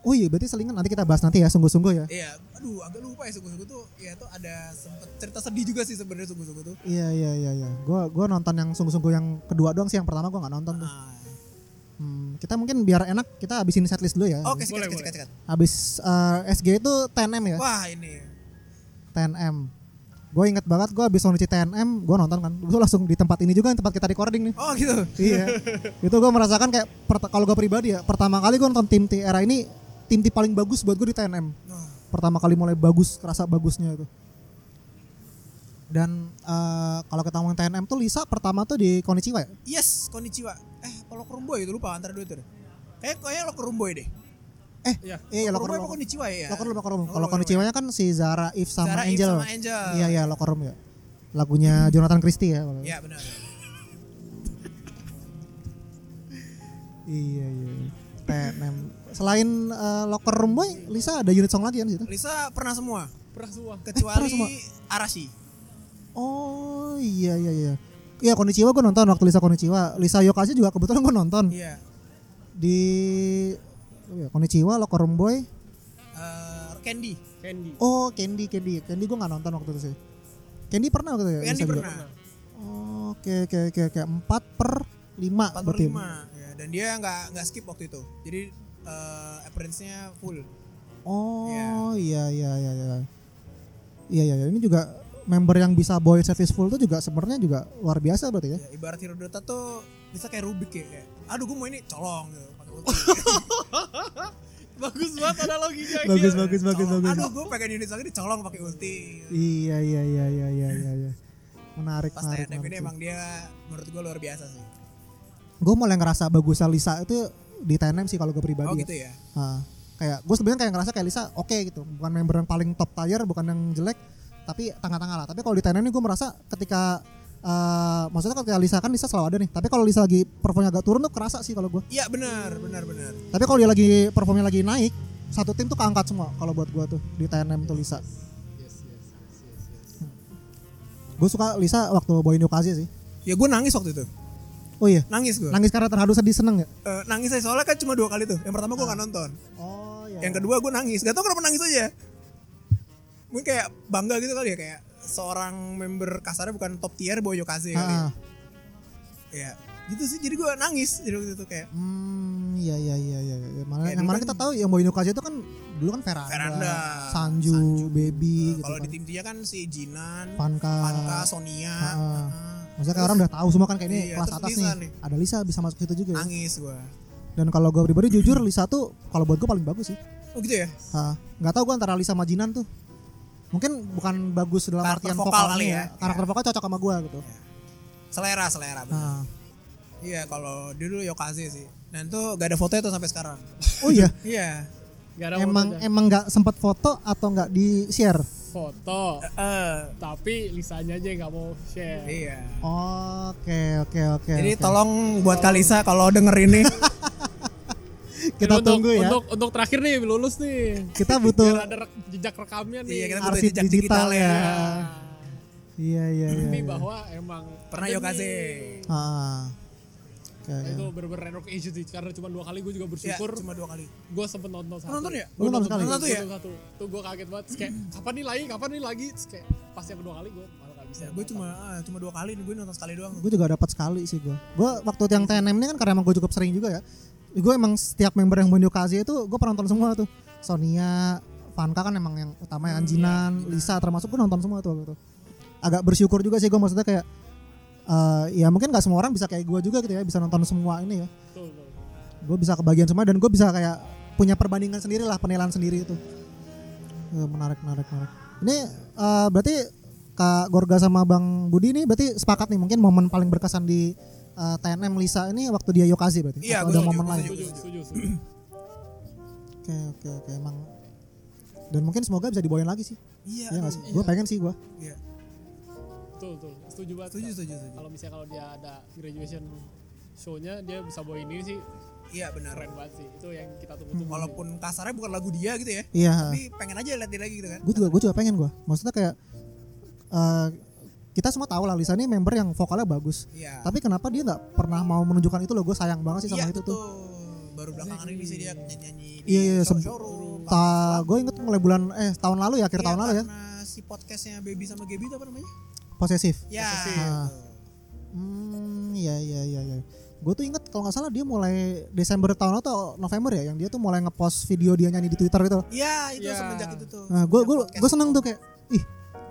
Oh iya berarti selingan nanti kita bahas nanti ya sungguh-sungguh ya.
Iya, aduh agak lupa ya sungguh-sungguh tuh ya tuh ada sempet cerita sedih juga sih sebenarnya sungguh-sungguh tuh.
Iya iya iya iya. Gua gua nonton yang sungguh-sungguh yang kedua doang sih yang pertama gua nggak nonton tuh.
Ah.
Hmm, kita mungkin biar enak kita habisin setlist dulu ya.
Oke, sikat,
Boleh,
sikat,
boleh.
sikat, sikat.
Habis eh, SG itu 10M ya,
Wah, ini.
10M. Gue inget banget gue habis Sonichi 10M, gue nonton kan. Itu langsung di tempat ini juga yang tempat kita recording nih.
Oh, gitu.
iya. Itu gue merasakan kayak pert- kalau gue pribadi ya, pertama kali gue nonton tim T era ini tim T paling bagus buat gue di 10M.
Wah,
pertama kali mulai bagus kerasa bagusnya itu dan eh, kalau kita ngomongin TNM tuh Lisa pertama tuh di Konichiwa ya
yes, konnichiwa. Eh, kalau kerumboy itu lupa antara dua itu deh. Kayak kayaknya lo kerumboy deh.
Iya.
iya
Kalau kerumboy
locker room
apa konnichiwa ya?
locker room locker room
Locker
kalau
room,
Konichiwa nya kan si Zara If
iya.
sama
Zara Eve
Angel
sama Angel. Hmm.
iya iya locker room ya lagunya Jonathan Christie ya kalau-
Iya, benar.
iya iya TNM selain eh, locker room boy Lisa ada unit song lagi kan di situ
Lisa pernah semua
Pernah semua.
kecuali
pernah semua.
Arashi.
oh iya iya iya Iya Konichiwa gue nonton waktu Lisa Konichiwa Lisa Yokashi juga kebetulan gue nonton
Iya.
di oh ya, Konichiwa Locker Room Boy
Eh, Candy.
Candy.
oh Candy Candy Candy gue nggak nonton waktu itu sih Candy pernah waktu itu ya
Candy
Bisa juga?
pernah.
Oh, oke oke oke oke empat per lima
4 per
berarti
5. Ya, dan dia nggak nggak skip waktu itu. Jadi eh appearance-nya full.
oh iya iya iya iya iya iya iya. ini juga member yang bisa boy serviceful itu juga sebenarnya juga luar biasa berarti ya
Ya, ibarat hero Dota tuh bisa kayak Rubik ya kayak, aduh gue mau ini colong gitu. Pakai ulti.
Bagus banget analoginya.
bagus
gila.
bagus bagus
Colong.
bagus
Aduh gue pengen unit lagi dicolong pakai ulti.
iya iya iya iya iya iya iya. menarik
Pas
menarik,
TNF ini
menarik.
emang dia menurut gue luar biasa sih.
gue mulai ngerasa bagusnya Lisa itu di TNM sih kalau gue pribadi
Oh
ya.
gitu ya.
Ah, kayak gue sebenarnya kayak ngerasa kayak Lisa oke gitu bukan member yang paling top tier bukan yang jelek tapi tengah-tengah lah tapi kalau di TNM ini gue merasa ketika eh, maksudnya ketika Lisa kan Lisa selalu ada nih tapi kalau Lisa lagi performnya agak turun tuh kerasa sih kalau gue
Iya benar benar benar.
tapi kalau dia lagi performnya lagi naik satu tim tuh keangkat semua kalau buat gue tuh di TNM tuh Lisa
Yes, yes, yes, yes, yes.
gue suka Lisa waktu Boy Newcastle sih
Ya gue nangis waktu itu.
oh iya
Nangis gue.
nangis karena terharu sedih seneng ya
Eh, nangis saya soalnya kan cuma dua kali tuh. Yang pertama gue nggak nonton.
oh Ah. iya
Yang kedua gue nangis. Gak tau kenapa nangis aja. Mungkin kayak bangga gitu kali ya kayak seorang member kasarnya bukan top tier Boyo Kaze kali.
ah,
Ya gitu sih jadi gue nangis jadi waktu itu kayak
Hmm, iya iya iya iya. iya. Yang Mana,
Ya,
yang
dulu
mana
kan-
kita tahu yang Boy Newcastle itu kan dulu kan Veranda,
Veranda,
Sanju,
Sanju,
Baby gitu
kalau
kan.
di tim dia kan si Jinan,
Panka.
Panka, Sonia,
Ah, ah.
ah.
Maksudnya kayak orang udah tahu semua kan kayak ini
Iya,
kelas
terus
atas
Lisa
nih.
nih.
Ada Lisa bisa masuk situ juga. ya.
nangis gue.
Dan kalau gue pribadi jujur Lisa tuh kalau buat gue paling bagus sih.
Oh gitu ya.
Ah, nggak tahu gue antara Lisa sama Jinan tuh. Mungkin bukan bagus dalam
Karakter
artian
vokal
vokalnya
kali ya. Iya.
Karakter vokal cocok sama gue gitu.
Selera selera. bener.
Ah.
Iya kalau dia dulu Yokaze sih. Dan tuh gak ada fotonya tuh sampai sekarang.
Oh iya,
Iya.
Gak ada
emang
fotonya.
emang nggak sempat foto atau nggak di share?
foto.
Eh,
Tapi Lisanya aja yang gak mau share.
iya.
Oke oke oke.
Jadi
Iya, oke.
tolong buat Kalisa kalau denger ini
kita
Jadi
tunggu
untuk,
ya.
Untuk untuk terakhir nih lulus nih.
Kita
Biar
butuh
ada rek- jejak rekamnya nih. Nah,
Iya, kita butuh
arsip
jejak
digital,
digital
ya.
ya.
Iya iya iya.
Ini
iya.
bahwa emang
pernah
ada
Yokaze.
nih.
Ah. Iya, Oke,
Nah,
oke.
itu bener-bener random occasion sih karena cuma dua kali gue
Ya,
juga
Iya,
bersyukur
cuma dua kali.
gue sempet nonton satu
Nonton ya?
gue
Lu nonton
nonton,
sekali?
Nonton satu ya?
Gua satu tuh gue kaget banget Terus kayak kapan nih lagi kapan nih lagi Terus kayak pas yang kedua kali gue malah gak bisa
Ya, gue cuma ah, cuma dua kali nih gue nonton sekali doang.
Gue juga dapat sekali sih gue. Gue waktu yang TNM ini kan karena emang gue cukup sering juga ya. Gue emang setiap member yang Bonyo Kazi itu gue pernah nonton semua tuh. Sonia, Vanka kan emang yang utama ya, Anjinan, Lisa termasuk gue nonton semua tuh waktu itu. Agak bersyukur juga sih gue maksudnya kayak eh, ya mungkin gak semua orang bisa kayak gue juga gitu ya bisa nonton semua ini ya.
Tuh, tuh.
Gue bisa kebagian semua dan gue bisa kayak punya perbandingan sendiri lah penilaian sendiri itu. Eh, menarik menarik menarik. Ini eh, berarti Kak Gorga sama Bang Budi ini berarti sepakat nih mungkin momen paling berkesan di eh, TNM Lisa ini waktu dia Yokazi berarti.
Iya, gua
Atau ada
setuju,
momen
gua
lain.
setuju setuju setuju
Oke oke oke emang. Dan mungkin semoga bisa dibawain lagi sih.
Iya.
Iya nggak
aduh,
sih? Gue pengen sih gue.
Iya.
tuh tuh setuju banget
Setuju setuju setuju.
kalau misalnya kalau dia ada graduation show-nya dia bisa bawa ini sih
Iya benar.
Hmm.
keren banget sih itu yang kita tunggu tunggu
Walaupun kasarnya bukan lagu dia gitu ya.
Iya.
Tapi pengen aja lihat dia lagi gitu kan.
gue juga gue juga pengen gue maksudnya kayak eh, kita semua tahu lah Lisa ini member yang vokalnya bagus
Iya.
tapi kenapa dia nggak pernah mau menunjukkan itu loh gue sayang banget sih
Iya
sama itu
betul.
tuh
Baru belakangan ini sih dia nyanyi di
Iya, iya,
show-
sem-
showroom.
ta gue inget mulai bulan eh tahun lalu ya akhir
Iya,
tahun lalu ya
karena si podcastnya Baby sama Gaby itu apa namanya?
posesif Nah,
Ya.
Posesif.
Ah.
betul.
hmm ya ya ya ya gue tuh inget kalau nggak salah dia mulai Desember tahun lalu atau November ya yang dia tuh mulai ngepost video dia nyanyi di Twitter gitu loh
Iya itu
Iya.
semenjak itu tuh.
nah gue
Semenjak
gue
Iya, podcast
gue seneng tuh kayak ih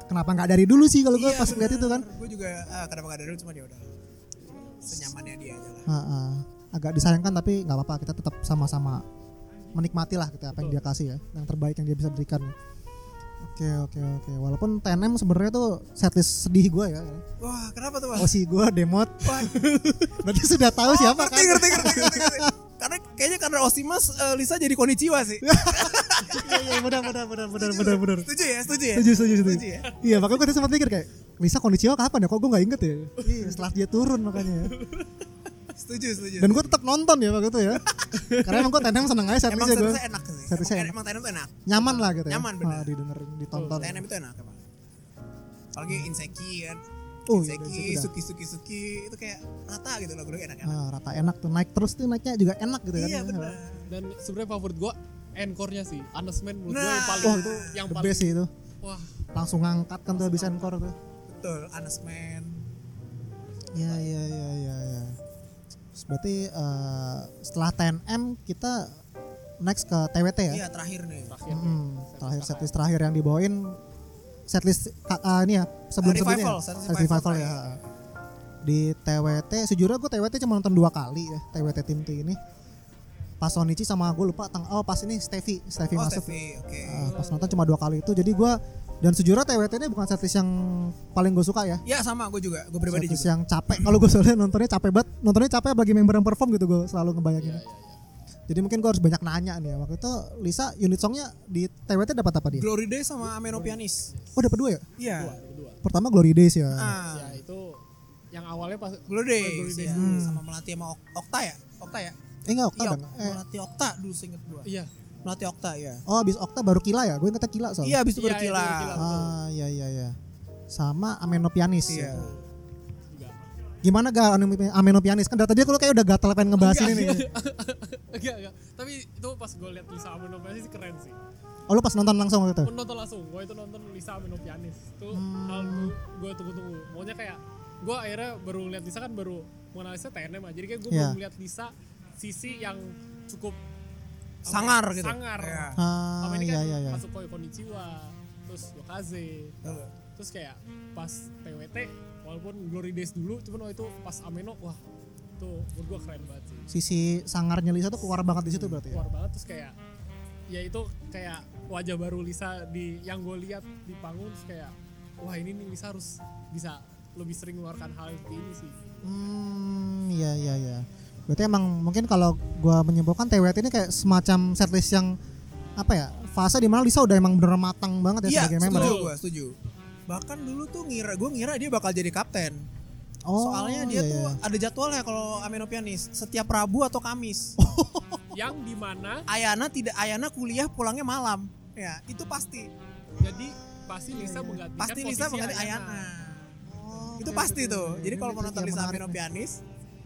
kenapa nggak dari dulu sih kalau gue
Iya,
pas lihat itu kan
Gue juga ah, kenapa gak ada dulu cuma dia udah senyamannya dia aja lah.
Ah, ah. agak disayangkan tapi nggak apa-apa kita tetap sama-sama menikmati lah kita apa yang dia kasih ya yang terbaik yang dia bisa berikan oke oke oke walaupun TNM sebenarnya tuh setlist sedih gue ya
Wah kenapa tuh bang?
oh si gue demot
Wah,
berarti sudah tahu
ngerti,
siapa kan
ngerti, ngerti, ngerti, ngerti. Karena kayaknya karena Osimas eh, Lisa jadi koniciwa sih.
iya iya benar benar benar benar benar benar
Setuju ya, setuju ya.
setuju setuju
Setuju
setuju
ya?
iya makanya gue tadi sempat mikir kayak Lisa kondisinya kapan ya kok gue nggak inget ya iya setelah dia turun makanya ya.
Iya, Setuju, setuju.
dan gue tetap nonton ya waktu itu ya karena emang gue TNM seneng aja
iya. emang
setlistnya gue
setlistnya enak sih.
Setlistnya
Emang,
enak.
emang TNM tuh enak.
nyaman lah gitu ya
Nyaman, benar.
Ah, didengerin ditonton
TNM itu enak emang. Apalagi Inseki kan.
Oh, iya,
Inseki,
Inseki dah.
Suki, Suki, Suki. Itu kayak rata gitu loh. Gue enak-enak.
Ah, rata enak tuh naik terus tuh naiknya juga enak gitu kan.
Iya, benar.
dan sebenarnya favorit gue encore-nya sih Honestman menurut gue
Nah.
yang paling
Wah,
itu yang
The
paling
best sih itu.
wah
Langsung ngangkat kan tuh bisa encore tuh.
Betul, Anas Man.
Iya iya iya iya iya. Terus Berarti eh, setelah 10M kita next ke TWT ya.
Iya, terakhir nih.
terakhir
Hmm, terakhir setlist terakhir yang dibawain setlist ka- ah, ini ya sebelum sebelumnya.
Revival, setlist revival
ya.
terakhir.
Di TWT sejujurnya gue TWT cuma nonton dua kali ya TWT tim T ini. Pas Sonichi sama gue lupa tang oh pas ini Stevie Stevie
Oh,
masuk.
Steffi, oke.
Ah, pas nonton cuma dua kali itu jadi gua dan sejujurnya TWT ini bukan setlist yang paling gue suka ya
Ya sama, gue juga. Gue pribadi
setlist
juga.
yang capek kalau gue soalnya nontonnya capek banget nontonnya capek bagi member yang perform gitu gue
Iya,
selalu ngebayangin jadi mungkin gue harus banyak nanya nih ya. waktu itu Lisa unit songnya di TWT dapat apa dia
Glory Day sama Ameno Pianis.
oh dapat dua ya
Iya.
kedua
pertama Glory Days ya
Ah.
ya itu yang awalnya pas
Glory Days,
Days.
ya.
Hmm.
sama melatih sama Ok- Okta ya? Okta ya?
eh enggak Okta
Iya,
dong
Ok-
eh,
melatih Okta dulu seinget gua.
iya
Melatih Okta ya.
oh abis Okta baru Kila ya gue ingetnya Kila
Iya,
soalnya
habis itu
Iya,
baru
iya,
Kila.
baru Kila.
ah iya iya iya sama Ameno Pianis
Iya.
ya.
juga
Gimana gak Ameno Pianis? Kan dari tadi kalau kayak udah gatel pengen ngebahas ini
Iya.
nih.
Enggak, enggak. Tapi itu pas gue liat Lisa Aminopianis sih keren sih.
Oh lu pas nonton langsung waktu itu?
Gue nonton langsung, gue itu nonton Lisa Aminopianis. Itu
Hmm.
hal gue tunggu-tunggu. Maunya kayak, gue akhirnya baru liat Lisa kan baru menganalisa TNM aja. Jadi kayak gue
Iya.
belum liat Lisa sisi yang cukup apa
Sangar
ya,
gitu.
Sangar.
Iya.
Ah,
Sama ini
iya
kan
iya iya.
masuk Koi Konichiwa, terus Yokaze. Terus kayak pas TWT, walaupun Glory Days dulu, cuman waktu itu pas Ameno, wah itu itu menurut gue keren banget sih
sisi sangarnya Lisa tuh keluar banget di situ berarti ya
keluar
Iya.
banget terus kayak ya itu kayak wajah baru Lisa di yang gue lihat di panggung terus kayak wah ini nih Lisa harus bisa lebih sering mengeluarkan hal seperti ini sih
hmm iya iya iya berarti emang mungkin kalau gua menyimpulkan TWT ini kayak semacam setlist yang apa ya fase di mana Lisa udah emang bener matang banget ya
Iya,
sebagai member
setuju
ya?
gue, setuju. Bahkan dulu tuh ngira, gue ngira dia bakal jadi kapten.
oh
Soalnya dia
iya,
tuh
iya.
ada jadwalnya kalau Ameno Pianis setiap Rabu atau Kamis.
Oh,
yang dimana
Ayana tidak Ayana kuliah pulangnya malam. Ya, itu pasti.
jadi pasti Lisa menggantikan
Iya, Pasti Lisa
kan posisi
mengganti Ayana.
Oh,
Itu
oke,
pasti
oke, oke,
tuh.
oke.
Jadi
Ini
kalau
trik
mau nonton
yang
Lisa
menarik
Ameno
nih.
Pianis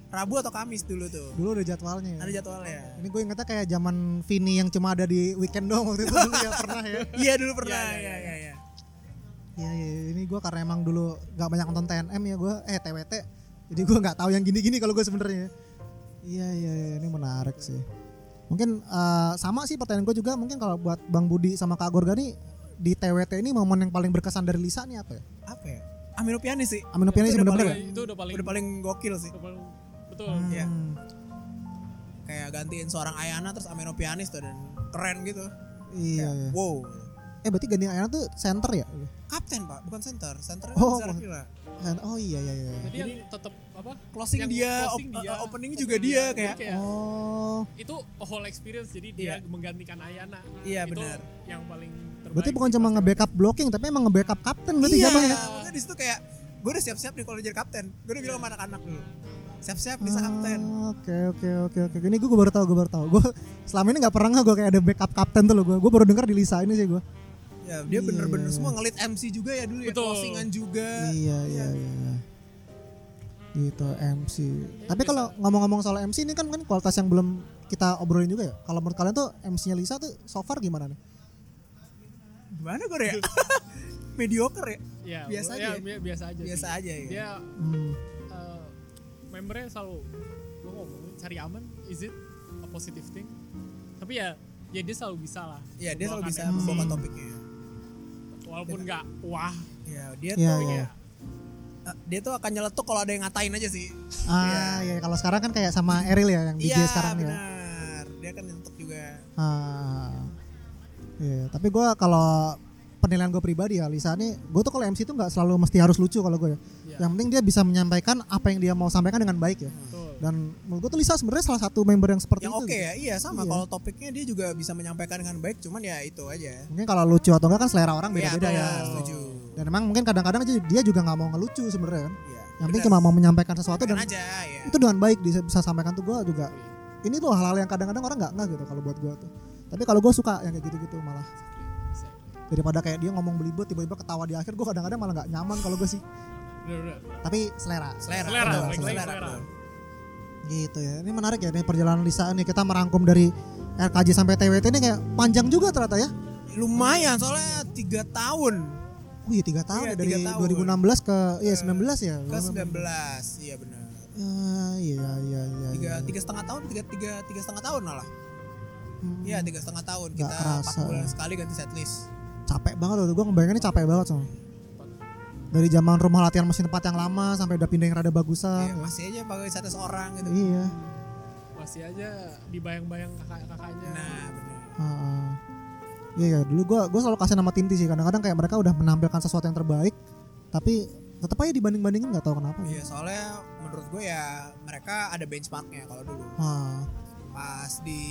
Rabu atau Kamis dulu tuh.
Iya, dulu ada jadwalnya ya
Ada jadwalnya.
ini gue ingetnya kayak zaman Vini yang cuma ada di weekend doang waktu itu dulu ya pernah ya
Iya dulu pernah.
Iya, iya,
Iya, iya, iya.
Iya, iya, iya. ini gue karena emang dulu nggak banyak nonton TNM ya gue, eh TWT, jadi gue nggak tahu yang gini-gini kalau gue sebenarnya. Iya, iya, iya, ini menarik sih. Mungkin eh, sama sih pertanyaan gue juga, mungkin kalau buat Bang Budi sama Kak Gorga nih di TWT ini momen yang paling berkesan dari Lisa nih apa ya?
Apa ya? Ameno Pianis sih.
Aminopianis
Itu udah
bener-bener
paling-
ya?
Iya, itu udah paling,
Udah paling gokil sih.
udah paling- betul
Hmm.
Iya. Kayak gantiin seorang Ayana terus Ameno Pianis tuh dan keren gitu.
Iya, iya.
Wow.
Eh berarti ganti Ayana tuh center ya?
Kapten, Pak, bukan center. Center
Oh,
Zarafila.
Center- Oh iya iya iya.
jadi, yang tetap apa
closing
Yang
dia,
closing
op-
dia,
uh, opening juga dia kayak
Jadi kayak
Oh,
itu a whole experience jadi dia
Iya.
menggantikan Ayana
Iya,
itu
benar.
yang paling terbaik
berarti bukan cuma nge-backup blocking tapi emang nge-backup kapten berarti
iya
zaman ya?
maksudnya di situ kayak gue udah siap-siap nih kalau jadi kapten gue udah bilang sama anak-anak dulu siap-siap bisa kapten
Ah, Oke oke oke oke. Ini gue baru tahu gue baru tahu. Gue selama ini nggak pernah nggak gue kayak ada backup kapten tuh loh gue. Gue baru dengar di Lisa ini sih gue.
ya dia
Iya,
bener-bener
iya.
semua ngelit MC juga ya dulu ya
Betul.
closingan juga
Iya iya iya. Gitu MC. Tapi
biasa.
kalau ngomong-ngomong soal MC ini kan kan kualitas yang belum kita obrolin juga ya. Kalau menurut kalian tuh MC-nya Lisa tuh so far gimana nih?
gimana gue ya mediocre ya
Iya,
Biasa
ya,
aja.
bi- biasa aja
biasa
sih.
aja ya
dia
Hmm.
eh, membernya selalu gue ngomong cari aman is it a positive thing tapi ya ya dia selalu bisa lah
ya dia selalu bisa
Membawakan
membawa topiknya
MC, walaupun
Iya.
nggak wah
ya dia
Iya,
tuh
iya.
eh, dia tuh akan nyeletuk kalau ada yang ngatain aja sih
Ah iya kalau sekarang kan kayak sama Eril ya yang DJ
iya
sekarang ya.
benar dia kan nyeletuk juga
Ah. Iya, tapi gue kalau penilaian gue pribadi ya Lisa nih, gue tuh kalau MC tuh nggak selalu mesti harus lucu kalau gue ya.
Iya.
Yang penting dia bisa menyampaikan apa yang dia mau sampaikan dengan baik ya.
betul
Nah.
Dan menurut gue tuh Lisa sebenarnya salah satu member yang seperti
yang
itu.
oke
gitu.
ya iya sama
Iya.
kalau topiknya dia juga bisa menyampaikan dengan baik cuman ya itu aja
Mungkin kalau lucu atau enggak kan selera orang beda-beda
Iya,
ya.
benar, setuju
Dan emang mungkin kadang-kadang aja dia juga nggak mau ngelucu sebenarnya kan.
Iya,
Yang penting
benar.
cuma mau menyampaikan sesuatu
Makan
dan
aja ya.
itu dengan baik bisa, bisa sampaikan tuh gue juga. Ini tuh hal-hal yang kadang-kadang orang nggak nggak gitu kalau buat gue tuh. Tapi kalau gue suka yang kayak gitu-gitu malah daripada kayak dia ngomong belibet tiba-tiba ketawa di akhir gue kadang-kadang malah nggak nyaman kalau gue sih
benar
tapi selera Iya,
Selera,
Selera,
betul,
balik lagi
selera,
selera.
betul.
gitu ya ini menarik ya ini perjalanan Lisa nih kita merangkum dari RKJ sampai TWT ini kayak panjang juga ternyata ya
Lumayan soalnya 3 tahun
Wih tiga
Iya,
tahun ya dari
tiga tahun.
2016 ke iya 19 ya.
ke 19 iya benar.
Eh, iya iya iya.
Tiga,
iya.
tiga setengah tahun, tiga, tiga, tiga setengah tahun lah.
Hmm,
Iya tiga setengah tahun
Nggak
kita empat
kerasa.
bulan sekali ganti setlist.
Capek banget loh, gue ngebayanginnya capek banget sama. Dari zaman rumah latihan mesin tempat yang lama sampai udah pindah yang rada
Iya,
bagusan.
masih aja pakai setlist orang gitu.
Ah. Iya.
masih aja dibayang-bayang kakak-kakaknya
Nah benar.
Heeh. Iya iya, dulu gue gue selalu kasih nama Tinti sih. Kadang-kadang kayak mereka udah menampilkan sesuatu yang terbaik, tapi tetap aja dibanding-bandingin nggak tahu kenapa.
Iya soalnya menurut gue ya mereka ada benchmarknya kalau dulu
Wah,
pas di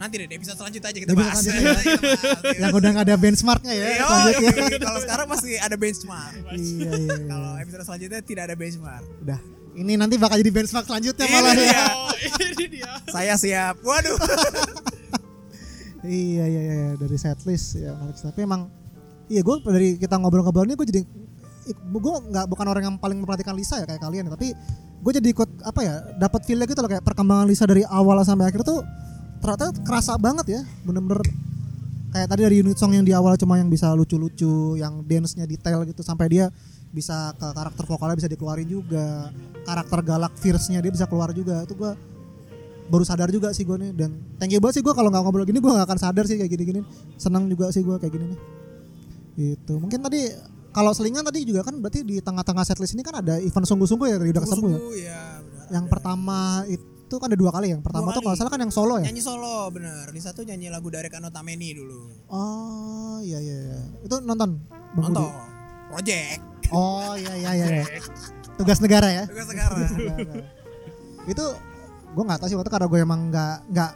nanti deh di episode selanjutnya aja kita
Episode
bahas.
selanjutnya.
Kita bahas.
yang udah nggak ada benchmarknya ya.
Iya,
selanjutnya.
oke. kalau sekarang masih ada benchmark.
iya iya. iya.
Kalau episode selanjutnya tidak ada benchmark.
Udah. Ini nanti bakal jadi benchmark selanjutnya
Ini
malah ya.
dia.
oh ini dia
Saya siap. Waduh.
Iya iya iya dari setlist ya menarik. Tapi emang iya gue dari kita ngobrol-ngobrol ini gue jadi gue nggak bukan orang yang paling memperhatikan Lisa ya kayak kalian tapi gue jadi ikut apa ya dapat feelnya gitu loh kayak perkembangan Lisa dari awal sampai akhir tuh ternyata kerasa banget ya bener-bener kayak tadi dari unit song yang di awal cuma yang bisa lucu-lucu yang dance-nya detail gitu sampai dia bisa ke karakter vokalnya bisa dikeluarin juga karakter galak fierce-nya dia bisa keluar juga itu gue baru sadar juga sih gue nih dan thank you banget sih gue kalau nggak ngobrol gini gue nggak akan sadar sih kayak gini-gini senang juga sih gue kayak gini nih itu mungkin tadi kalau selingan tadi juga kan berarti di tengah-tengah setlist ini kan ada event sungguh-sungguh ya tadi udah ketemu ya
Sungguh-sungguh, ya, benar.
Yang pertama itu kan ada dua kali ya. Yang pertama
Dua
tuh kalau
kali.
salah kan yang solo ya.
nyanyi solo bener di satu nyanyi lagu dari Kanotameni dulu
Oh iya iya iya. Itu nonton. Bang Budi?
nonton project
Oh iya iya iya. iya. Tugas negara ya.
juga sekarang
itu gue nggak tahu sih waktu itu karena gue emang nggak nggak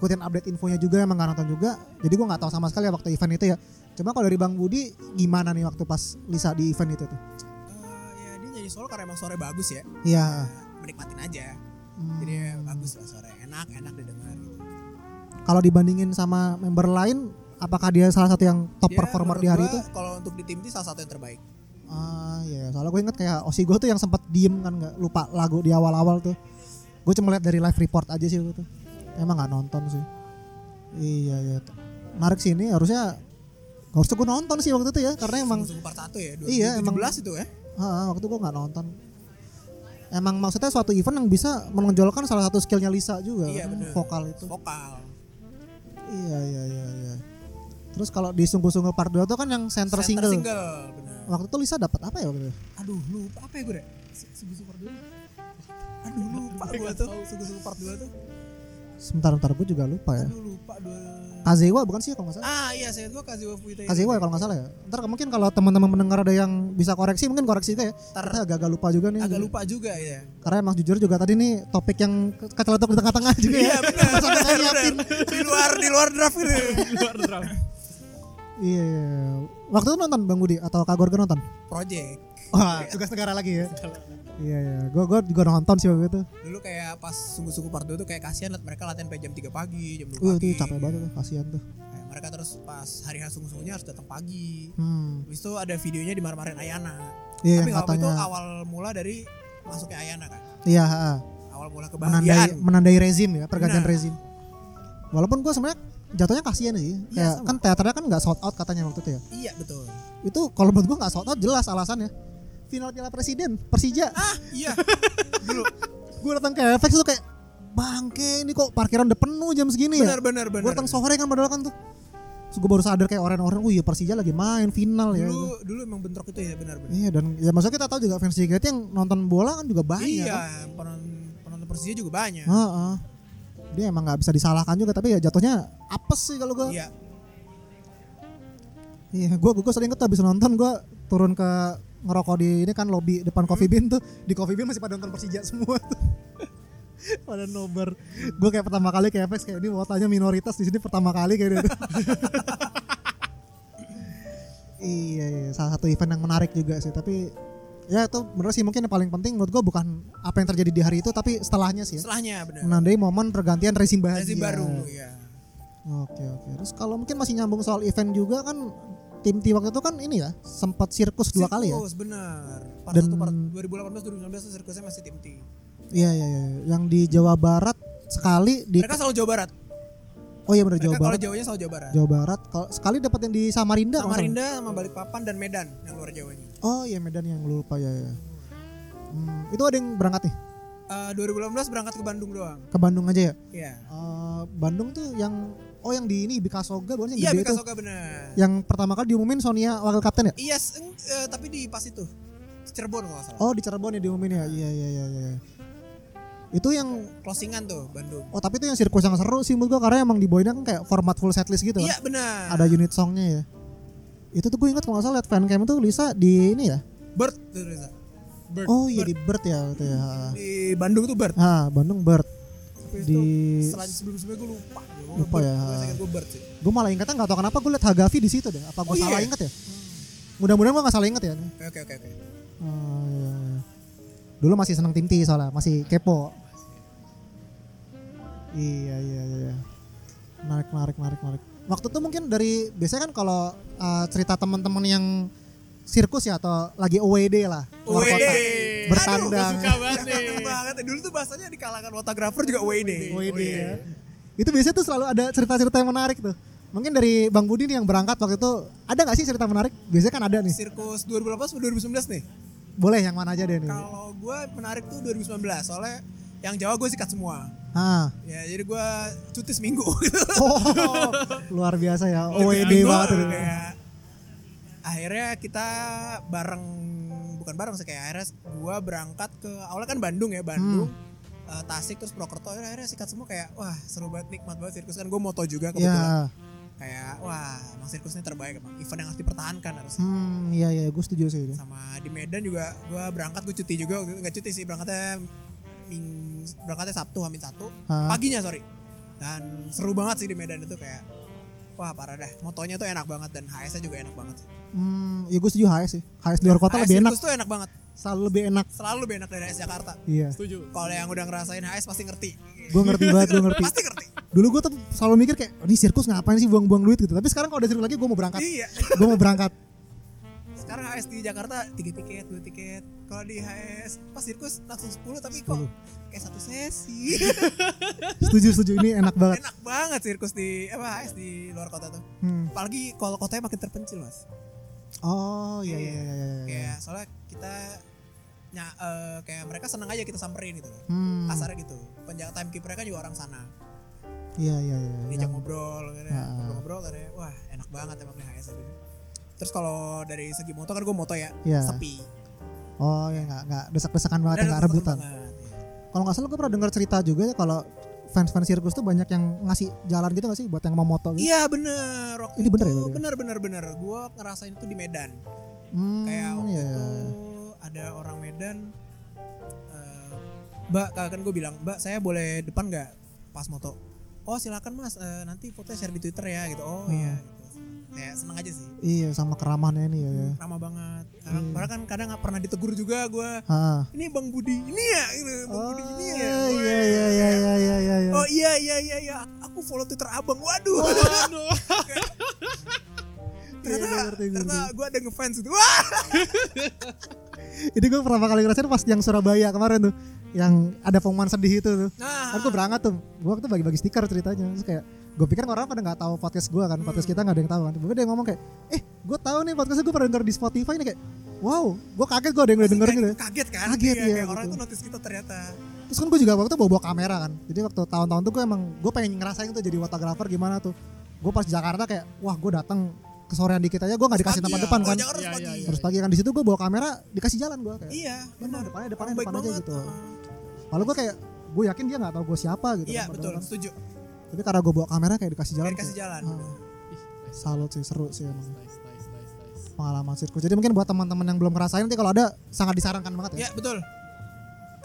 ikutin update infonya juga emang nggak nonton juga jadi gue nggak tahu sama sekali waktu event itu ya cuma kalau dari bang Budi gimana nih waktu pas Lisa di event itu tuh
Eh, ya dia nyanyi solo karena emang sore bagus ya
Iya
menikmatin aja
Hmm.
jadi ya, bagus lah sore enak enak didengar gitu.
kalau dibandingin sama member lain apakah dia salah satu yang
Dia
top
Ya,
performer
menurut
di hari
gua
itu
kalau untuk di tim itu salah satu yang terbaik
ah iya soalnya gue inget kayak Osi gue tuh yang sempat diem kan nggak lupa lagu di awal-awal tuh gue cuma lihat dari live report aja sih waktu itu emang nggak nonton sih iya iya menarik sih ini harusnya harusnya gue nonton sih waktu itu ya karena emang
Musuh part satu ya
Iya, emang.
2017 itu ya
Ah, ah, waktu gue nggak nonton emang maksudnya suatu event yang bisa menonjolkan salah satu skillnya Lisa juga
Iya,
kan,
bener.
vokal itu
vokal
iya iya iya iya terus kalau di sungguh-sungguh part 2 tuh kan yang center,
Center
single.
single bener.
waktu itu Lisa dapat apa ya waktu itu
aduh lupa apa ya gue deh subuh super dulu aduh lupa gue tuh subuh super part dua tuh
sebentar bentar gue juga lupa ya
aduh lupa dua
Kazewa bukan sih kalau nggak salah
ah iya saya gue kasih wafu itu
Kazewa ya kalau nggak salah ya ntar mungkin kalau teman-teman mendengar ada yang bisa koreksi mungkin koreksi juga ya
Ntar.
kita agak-agak lupa juga nih
agak lupa juga ya
karena emang jujur juga tadi nih topik yang ke- keceletuk di tengah-tengah juga ya
iya benar
Pas ada yang nyiapin.
di luar di luar draft gitu
luar drama
iya iya. waktu itu nonton Bang Budi atau Kak Gorga nonton
Iya. project
Wah, tugas negara lagi ya. Iya, iya. Gue gua juga nonton sih waktu itu.
dulu kayak pas sungguh-sungguh part 2 tuh kayak kasihan liat mereka latihan sampai jam 3 pagi jam 2
Uh,
pagi
itu capek banget tuh, kasihan tuh.
Kayak mereka terus pas hari hari sungguh-sungguhnya harus datang pagi
Hmm.
habis itu ada videonya dimarah-marahin Ayana tapi
Iya, yang
nggak apa itu
katanya.
awal mula dari masuknya Ayana kan
Iya, ha-ha.
awal mula
menandai
kebahagiaan
menandai rezim ya, pergantian
Benar.
rezim. Walaupun gue sebenarnya jatuhnya kasihan sih.
Iya,
Kayak
sama.
kan teaternya kan nggak sold out katanya waktu itu ya.
iya betul
Itu kalau menurut gue nggak sold out jelas alasannya. Final Piala Presiden Persija.
ah iya dulu
Gue datang ke FX tuh kayak bangke ini kok parkiran udah penuh jam segini ya.
benar benar
Gue
benar
datang sore kan padahal kan tuh. Gue baru sadar kayak orang-orang, oh iya Persija lagi main final ya.
dulu dulu emang bentrok itu ya benar benar
Iya dan ya maksudnya kita tahu juga fans JKT yang nonton bola kan juga banyak. Kan?
iya penonton penonton Persija juga banyak
Heeh. Dia emang nggak bisa disalahkan juga tapi ya jatuhnya apes sih kalau gua.
iya
Iya, gua gua sering ketemu habis nonton gua turun ke ngerokok di ini kan lobby depan Coffee Bean tuh. Di Coffee Bean masih pada nonton Persija semua tuh. pada nobar. Gua kayak pertama kali kayak FX kayak ini wotanya minoritas di sini pertama kali kayak gitu. iya, iya, salah satu event yang menarik juga sih, tapi ya itu menurut sih mungkin yang paling penting menurut gua bukan apa yang terjadi di hari itu tapi setelahnya sih ya.
setelahnya benar
menandai momen pergantian rezim bahagia.
Versi baru ya
Oke oke. Terus kalau mungkin masih nyambung soal event juga kan tim T waktu itu kan ini ya sempat sirkus dua kali ya.
Sirkus benar. Part
Dan-
satu, part 2018 2019 tuh sirkusnya masih tim T.
Iya iya iya. Yang di Jawa Barat sekali di
Mereka selalu Jawa Barat.
oh iya benar
Mereka
Jawa
kalau
Barat.
Jawanya selalu Jawa Barat.
Jawa Barat kalau sekali dapat yang di Samarinda. kalau nggak
Samarinda sama Balikpapan dan Medan yang luar Jawanya.
salah. Oh iya Medan yang lupa ya ya. Hmm, itu ada yang berangkat nih
Eh 2018 berangkat ke Bandung doang.
ke Bandung aja ya.
Iya.
Eh, Bandung tuh yang oh yang di ini Bika Soga bukan yang
Iya,
gede itu.
Bikasoka benar.
Yang pertama kali diumumin Sonia wakil kapten ya.
Iya, s- eng- eh, tapi di pas itu. Cirebon kalau nggak salah.
Oh di Cirebon ya diumumin ya. Iya iya iya iya. Itu yang
Closingan tuh Bandung.
Oh tapi itu yang sirkus yang seru sih menurut gua karena emang di Boyna kan kayak format full setlist gitu kan.
Iya, benar.
Ada unit songnya ya. Itu tuh gue ingat kalau nggak salah liat fancam tuh Lisa di ini ya.
Bird tuh Reza.
Bird.
Oh iya di Bird ya gitu ya.
Di Bandung tuh Bird.
Ah Bandung Bird.
Tapi
Di
itu selanjutnya sebelum-sebelumnya gue lupa. Gua
Lupa
Bird.
ya.
Gua ingat Gue Bird sih.
gue malah ingatnya nggak tahu kenapa gue liat Hagafi di situ deh. Apa
Oh,
gue
iya
salah
ya?
ingat ya? Mudah-mudahan gue nggak salah ingat ya.
Oke, oke, oke, oke.
Ah, iya, iya. Dulu masih seneng tim T soalnya, masih kepo. Iya iya iya. Menarik menarik menarik menarik. Waktu itu mungkin dari biasanya kan kalau uh, cerita teman-teman yang sirkus ya atau lagi OWD lah. keluar
OWD.
kota.
Gue
Bertandang.
suka banget nih.
Cakep banget. Dulu tuh bahasanya di kalangan fotografer juga Wayne.
OWD ya. Itu biasanya tuh selalu ada cerita-cerita yang menarik tuh. Mungkin dari Bang Budi nih yang berangkat waktu itu ada nggak sih cerita menarik? Biasanya kan ada nih.
Sirkus 2018 atau 2019 nih.
Boleh yang mana aja deh nih.
Kalau gue menarik tuh 2019 soalnya yang Jawa gue sikat semua.
Ah.
Ya jadi gue cuti seminggu.
Oh, luar biasa ya. OWD
Seminggu,
banget. tuh. Iya.
kayak- Akhirnya kita bareng bukan bareng sih kayak akhirnya gue berangkat ke awalnya kan Bandung ya Bandung. eh, Tasik terus Prokerto akhirnya, akhirnya sikat semua kayak wah seru banget nikmat banget sirkus kan gue moto juga kebetulan
Ya,
kayak wah emang sirkus ini terbaik emang event yang harus dipertahankan harus
hmm, iya iya, gue setuju sih. itu.
sama di Medan juga gue berangkat gue cuti juga waktu itu nggak cuti sih berangkatnya ming berangkatnya Sabtu Hamin satu
Hah?
paginya sorry dan seru banget sih di Medan itu kayak wah parah dah motonya tuh enak banget dan HS-nya juga enak banget sih.
Hmm, ya gue setuju HS sih. HS di luar kota
HS
lebih enak,
sirkus tuh enak banget
selalu lebih enak.
selalu lebih enak dari HS Jakarta
Iya,
setuju
kalau yang udah ngerasain HS pasti ngerti
gue ngerti banget, gue ngerti.
pasti ngerti
Dulu gue tuh selalu mikir kayak, ini sirkus ngapain sih buang-buang duit gitu. Tapi sekarang kalau ada sirkus lagi, gue mau berangkat.
iya
Gue mau berangkat.
sekarang HS di Jakarta tiga tiket dua tiket kalau di HS pas sirkus langsung 10 tapi kok
10.
kayak satu sesi
Setuju, setuju. Ini enak banget.
enak banget sirkus di apa HS di luar kota tuh
Hmm.
apalagi kalau kotanya makin terpencil mas
Oh, iya iya iya. iya, iya.
kayak soalnya kita nya eh, kayak mereka seneng aja kita samperin gitu
Hmm,
kasarnya gitu penjaga timekeeper kan juga orang sana
iya iya iya.
diajak
Yang-
ngobrol gitu
Ah.
ngobrol-ngobrol katanya wah enak banget emang di HS itu gitu." terus kalau dari segi moto kan gue moto ya
Iya.
sepi
Oh, ya nggak nggak desak-desakan banget,
Dan
nggak
tetep
rebutan.
banget, iya.
Kalau nggak salah gue pernah dengar cerita juga ya kalau fans-fans sirkus tuh banyak yang ngasih jalan gitu nggak sih buat yang mau moto gitu.
iya bener waktu
Ini bener ya,
itu
berarti ya?
bener bener bener gue ngerasain itu di Medan
Hmm,
kayak waktu
iya,
itu
iya.
ada orang Medan eh, mbak kan gue bilang mbak saya boleh depan nggak pas moto oh silakan mas eh, nanti fotonya share di twitter ya gitu oh
Hmm.
iya gitu kayak seneng aja sih
Iya, sama keramahannya ini ya. ya.
ramah banget kadang
Hmm.
padahal kan kadang nggak pernah ditegur juga gue
Ah.
ini bang Budi ini ya gitu bang
Oh,
Budi ini ya
iya iya iya iya iya iya. iya.
oh iya iya iya iya aku follow twitter abang waduh
aduh
Iya,
ternyata
gue ngerti, gue
ternyata
ngerti.
gue ada ngefans gitu wah
Ini gue pertama kali ngerasain pas yang Surabaya kemarin tuh yang ada pengumuman sedih itu tuh.
nah
Kan gue berangkat tuh, gue waktu itu bagi-bagi stiker ceritanya Terus kayak, gue pikir orang pada gak tahu podcast gue kan
Hmm.
Podcast kita gak ada yang tahu kan Tiba-tiba dia ngomong kayak, eh gue tahu nih podcastnya gue pernah denger di Spotify nih kayak Wow, gue kaget gue ada yang udah
Pasti
dengerin gitu ya.
kayak kaget kan
Kaget,
Iya,
iya,
kayak orang
gitu.
tuh notice kita ternyata
Terus kan gue juga waktu itu bawa-bawa kamera kan Jadi waktu tahun-tahun tuh gue emang, gue pengen ngerasain tuh jadi fotografer gimana tuh Gue pas di Jakarta kayak, wah gue datang kesorean dikit aja gue gak dikasih tempat
Pagi ya.
depan
Oh,
kan
Jakarta harus
Iya,
pagi.
iya, iya.
Terus pagi kan di situ gue bawa kamera dikasih jalan gue kayak
Iya,
Benar,
benar.
depannya depannya
Orang baik
depan aja
banget.
gitu.
Heeh.
Lalu gue kayak gue yakin dia nggak tahu gue siapa gitu.
Iya,
kan, padahal
betul.
kan.
Setuju.
Tapi karena gue bawa kamera kayak dikasih jalan.
Biar kasih
kayak,
jalan.
ah.
Ih, nice,
salut sih seru sih emang
nice, nice, nice, nice.
pengalaman sirkus jadi mungkin buat teman-teman yang belum ngerasain nanti kalau ada sangat disarankan banget ya,
Iya, betul.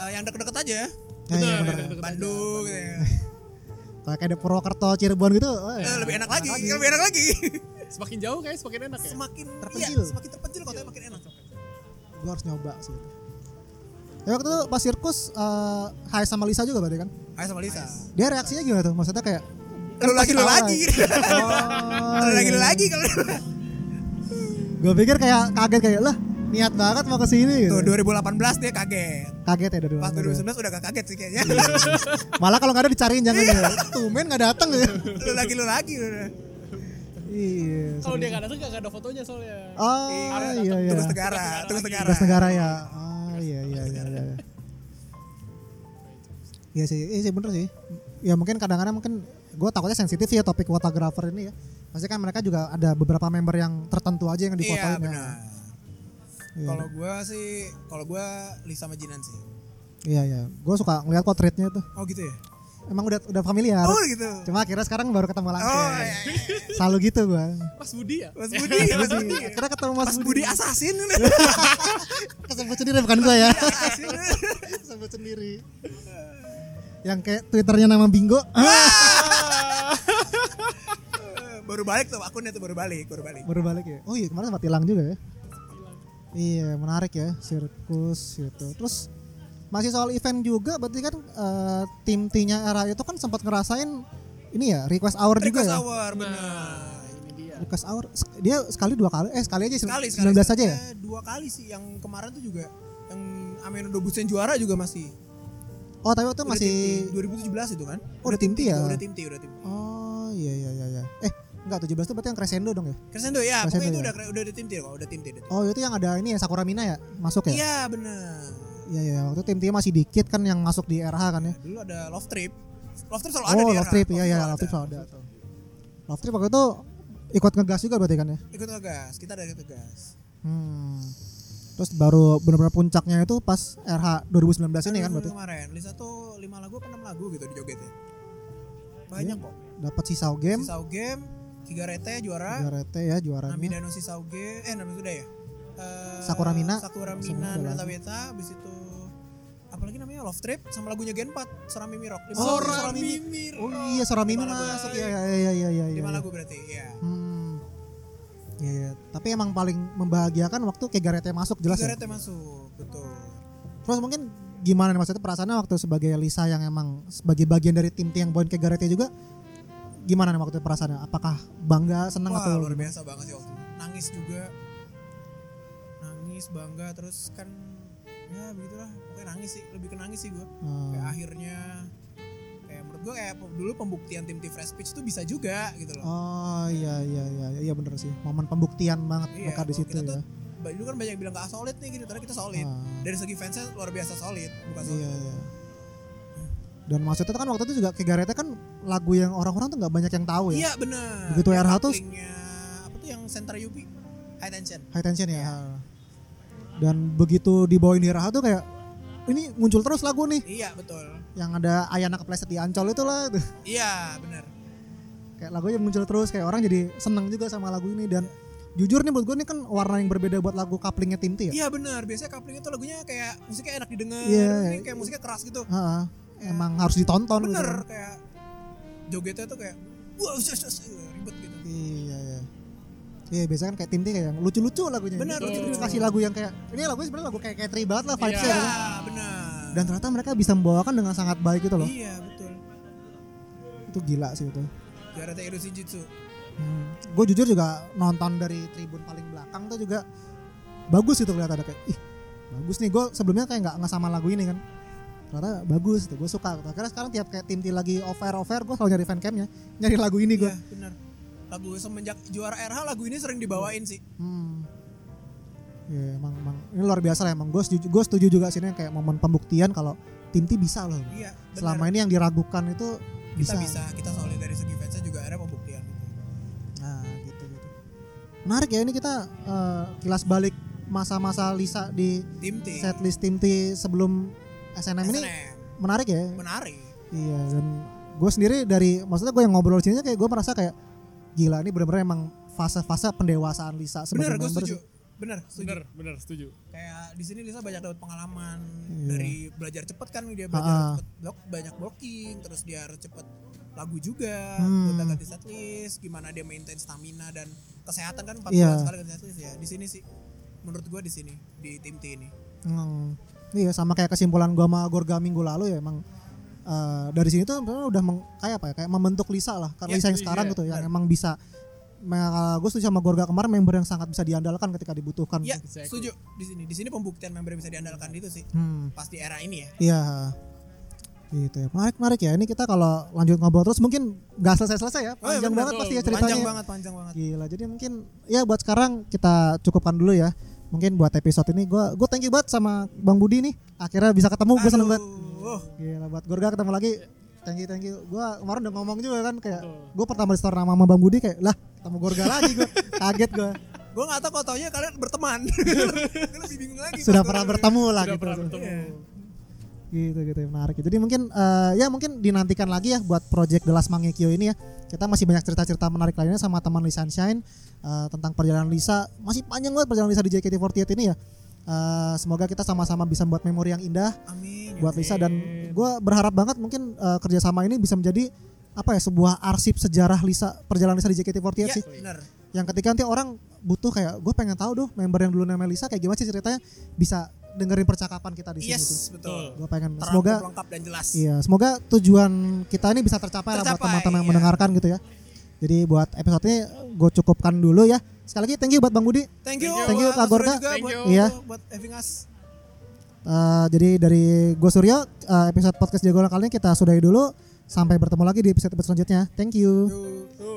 Eh, yang deket-deket aja
ya, ya,
Betul, yang
bener.
Iya, deket-deket aja.
Bandung gitu ya.
kalau kayak di Purwokerto Cirebon gitu eh,
Eh, lebih enak lagi lebih enak lagi
Semakin jauh kayak semakin enak ya.
semakin
Terpencil.
iya, semakin terpencil kotanya makin enak
gue harus nyoba sih ya waktu itu pas sirkus eh Hai sama Lisa juga berarti kan
ayo sama Lisa
dia reaksinya gimana tuh maksudnya kayak
lu lagi lu lagi
oh,
lu lagi lu lagi kalau
gue pikir kayak kaget kayak lah niat banget mau kesini
tuh
gitu.
2018 dia kaget
kaget ya dari
pas
dulu.
2019 udah gak kaget sih kayaknya
Iya, malah kalau nggak ada dicariin jangan ya tumen nggak datang ya
lu lagi lu lagi udah
iya
Kalau
seru.
dia nggak datang nggak ada fotonya soalnya.
oh
Harus
iya iya
tugas negara tugas negara
Tugas negara ya. Ah iya iya iya iya. Iya sih, iya sih bener sih. Ya mungkin kadang-kadang mungkin gue takutnya sensitif sih ya topik fotografer ini ya. Pasti kan mereka juga ada beberapa member yang tertentu aja yang
iya
difotoin ya.
benar
Iya.
kalau gua sih kalau gua Lisa sama Jinan sih
Iya iya. Gue suka ngeliat portretnya tuh.
oh gitu ya
Emang udah udah familiar.
oh gitu
Cuma akhirnya sekarang baru ketemu langsung.
oh iya, iya.
Selalu gitu gue.
Mas Budi ya?
Mas Budi, Mas Budi.
Akhirnya ketemu Mas,
Mas iya. Budi assassin.
Kesebut sendiri bukan gue
Iya,
ya.
assassin. iya.
Kesebut sendiri. Yang kayak twitternya nama Bingo.
baru balik tuh akunnya tuh baru balik, baru balik.
baru balik ya oh iya kemarin sempat hilang juga ya iya menarik ya sirkus gitu terus masih soal event juga berarti kan eh, tim timnya era itu kan sempat ngerasain ini ya request hour juga
Request
ya
hour
Nah,
benar.
ini dia.
request hour Sek- dia sekali dua kali eh sekali aja
Sekali, sekali.
19 aja ya
Eh, Dua kali sih yang kemarin tuh juga yang Ameno Dobusen juara juga masih.
oh tapi waktu
Udah
masih
tim T, 2017 itu kan?
Oh, udah tim T ya?
Udah tim T, udah tim T.
oh iya iya iya iya eh enggak 17 itu berarti yang crescendo dong ya
Crescendo ya, pokoknya
Crescendo
itu
ya?
udah udah di tim T kok, udah tim T. udah tim T.
oh itu yang ada ini ya Sakura Mina ya masuk ya
Iya, benar.
iya iya waktu tim timnya masih dikit kan yang masuk di RH kan ya
Dulu ada Love Trip. Love Trip selalu ada
Oh,
di
love
era.
trip, iya iya,
selalu
love trip
ada.
selalu ada. tuh. Love trip waktu itu ikut ngegas juga berarti kan ya?
Ikut ngegas, kita ada ngegas.
Hmm. Terus baru benar-benar puncaknya itu pas RH 2019 ini kan berarti
kemarin Lisa tuh 5 lagu apa 6 lagu gitu di jogetnya banyak kok
dapat sisau game,
Sisau Game Kigarete juara
juara RT ya juaranya.
Namidano Sisau Game eh Namidano sudah ya Eh,
Sakura Mina.
Sakura
Sakura
Mina
ada
Nata
lagi.
Beta abis itu apalagi namanya Love Trip sama lagunya Gen 4 Sora Mimi Rock Lima lagu,
Orang
Sora Mimi.
mimir.
Oh iya Sorami ini
Lima lagu.
masuk ya ya ya ya ya. ya,
lima
ya.
lagu berarti ya
Hmm. Iya, iya. tapi emang paling membahagiakan waktu Kegarete masuk jelas ya.
Kigarete masuk betul
Terus mungkin gimana nih maksudnya perasaannya waktu sebagai Lisa yang emang sebagai bagian dari tim tim yang poin Kegarete juga gimana nih waktu perasaannya? Apakah bangga, senang
wah
atau
luar biasa banget sih waktu itu. nangis juga nangis bangga terus kan ya begitulah pokoknya nangis sih lebih ke nangis sih gue kayak
Hmm.
akhirnya kayak menurut gue kayak pe- dulu pembuktian tim tim fresh pitch tuh bisa juga gitu loh
Oh iya iya iya iya bener sih. Momen pembuktian banget
Iya,
mereka di
kalau
situ
kita
ya.
tuh Ba- dulu kan banyak bilang gak solid nih gitu ternyata kita solid
Ah,
dari segi fansnya luar biasa solid bukan
iya
solid
iya. Dan maksudnya tuh kan waktu itu juga Kegarete kan lagu yang orang-orang tuh nggak banyak yang tahu ya.
iya benar
Begitu RH tuh-
apa tuh yang center UP high tension
High tension
Iya.
ya. Dan begitu dibawain di Raha tuh kayak ini muncul terus lagu nih
iya betul
yang ada Ayana kepleset di Ancol itulah itu.
iya benar
kayak lagunya muncul terus kayak orang jadi seneng juga sama lagu ini dan jujur nih buat gue ini kan warna yang berbeda buat lagu couplingnya tim T ya
Iya benar, biasanya coupling itu lagunya kayak musiknya enak didengar,
Iya,
ini
iya.
kayak musiknya keras gitu.
Ha-ha. emang harus ditonton gitu
Bener
kan.
kayak jogetnya tuh kayak wah sus, sus, gitu, ribet gitu.
iya iya iya biasanya kan kayak tim T kayak yang lucu-lucu lagunya
Bener,
Ini
lucu-lucu.
kasih lagu yang kayak ini lagunya sebenarnya lagu kayak kayak tri banget lah vibesnya
Iya,
gitu kan.
benar.
dan ternyata mereka bisa membawakan dengan sangat baik gitu loh
Iya, betul.
itu gila sih itu
Garata Ero Shinjitsu.
gue Hmm. jujur juga nonton dari tribun paling belakang tuh juga bagus itu kelihatan ada kayak ih bagus nih gue sebelumnya kayak nggak nggak sama lagu ini kan ternyata bagus tuh gue suka akhirnya sekarang tiap kayak tim tim lagi off air off air gue selalu nyari fancamnya nyari lagu ini gue
Iya, benar. Lagu semenjak juara RH lagu ini sering dibawain sih.
hmm. Ya, emang, emang ini luar biasa lah emang gue setuju, gue setuju juga sini kayak momen pembuktian kalau tim tim bisa loh
Iya, benar.
selama ini yang diragukan itu
kita
bisa,
bisa, kita solid dari segi fansnya juga akhirnya pembuktian gitu.
Nah, gitu gitu. Menarik ya ini kita eh, kilas balik masa-masa Lisa di
Tim T.
setlist tim T sebelum SNM, ini
SNM.
menarik ya.
menarik.
Iya dan gue sendiri dari maksudnya gue yang ngobrol sini kayak gue merasa kayak gila ini bener-bener emang fase-fase pendewasaan Lisa
Bener,
sebagai
gue
member
setuju.
sih.
Bener, setuju.
Bener, bener, setuju.
kayak di sini Lisa banyak dapat pengalaman
Iya.
dari belajar cepet kan dia belajar
Ah.
cepet blok banyak blocking terus dia harus cepet lagu juga
Hmm.
gonta ganti setlist gimana dia maintain stamina dan kesehatan kan empat
Iya.
bulan sekali ganti setlist ya di sini sih menurut gua di sini di tim T ini
Hmm. Iya sama kayak kesimpulan gue sama Gorga minggu lalu ya emang eh, dari sini tuh sebenarnya udah meng, kayak apa ya kayak membentuk Lisa lah karena
Iya,
Lisa yang
iya,
sekarang gitu yang
benar.
emang bisa gue setuju sama Gorga kemarin member yang sangat bisa diandalkan ketika dibutuhkan. gitu.
ya
Exactly.
setuju di sini di sini pembuktian member yang bisa diandalkan itu sih
Hmm.
pas di era ini ya
Iya. Gitu ya. Menarik menarik ya. Ini kita kalau lanjut ngobrol terus mungkin nggak selesai selesai ya.
Oh, iya,
Panjang
bener,
banget
betul.
pasti ya
Panjang
ceritanya.
panjang banget panjang banget
Gila. Jadi mungkin ya buat sekarang kita cukupkan dulu ya. Mungkin buat episode ini gue gue thank you banget sama Bang Budi nih. Akhirnya bisa ketemu gue seneng banget.
Aduh, oh,
Gila buat Gorga ketemu lagi. Thank you thank you. Gue kemarin udah ngomong juga kan kayak
Betul.
gue pertama di store nama sama Bang Budi kayak lah ketemu Gorga lagi gue kaget gue
gue gak tau kok taunya kalian berteman Gua lebih bingung lagi
sudah
Pas
pernah
gua-
bertemu lah
Sudah
gitu.
pernah bertemu.
Iya.
gitu gitu ya, menarik jadi mungkin eh, ya mungkin dinantikan lagi ya buat project The Last Mangekyo ini ya kita masih banyak cerita-cerita menarik lainnya sama teman Lisa Shine eh, tentang perjalanan Lisa masih panjang banget perjalanan Lisa di JKT48 ini ya Eh, semoga kita sama-sama bisa buat memori yang indah
amin ya
buat Lisa dan gue berharap banget mungkin eh, kerjasama ini bisa menjadi apa ya sebuah arsip sejarah Lisa perjalanan Lisa di JKT48
Ya,
sih
bener
yang ketika nanti orang butuh kayak gue pengen tahu doh member yang dulu namanya Lisa kayak gimana sih ceritanya bisa dengerin percakapan kita di sini
yes betul
gue pengen
Terangkum,
semoga
lengkap dan jelas
Iya, semoga tujuan kita ini bisa tercapai, lah buat
Tercapai,
teman-teman yang
iya.
mendengarkan gitu ya. Jadi buat episode ini gue cukupkan dulu ya. Sekali lagi thank you buat Bang Budi.
Thank you,
Thank
buat
you, Kak
Mas Surya
Gorka.
juga
Thank
buat,
you.
Iya.
buat having us.
Eh, jadi dari gue Suryo, eh, episode podcast Jagoan kali ini kita sudahi dulu. Sampai bertemu lagi di episode-episode selanjutnya. Thank you.
Yuk.
Tuh.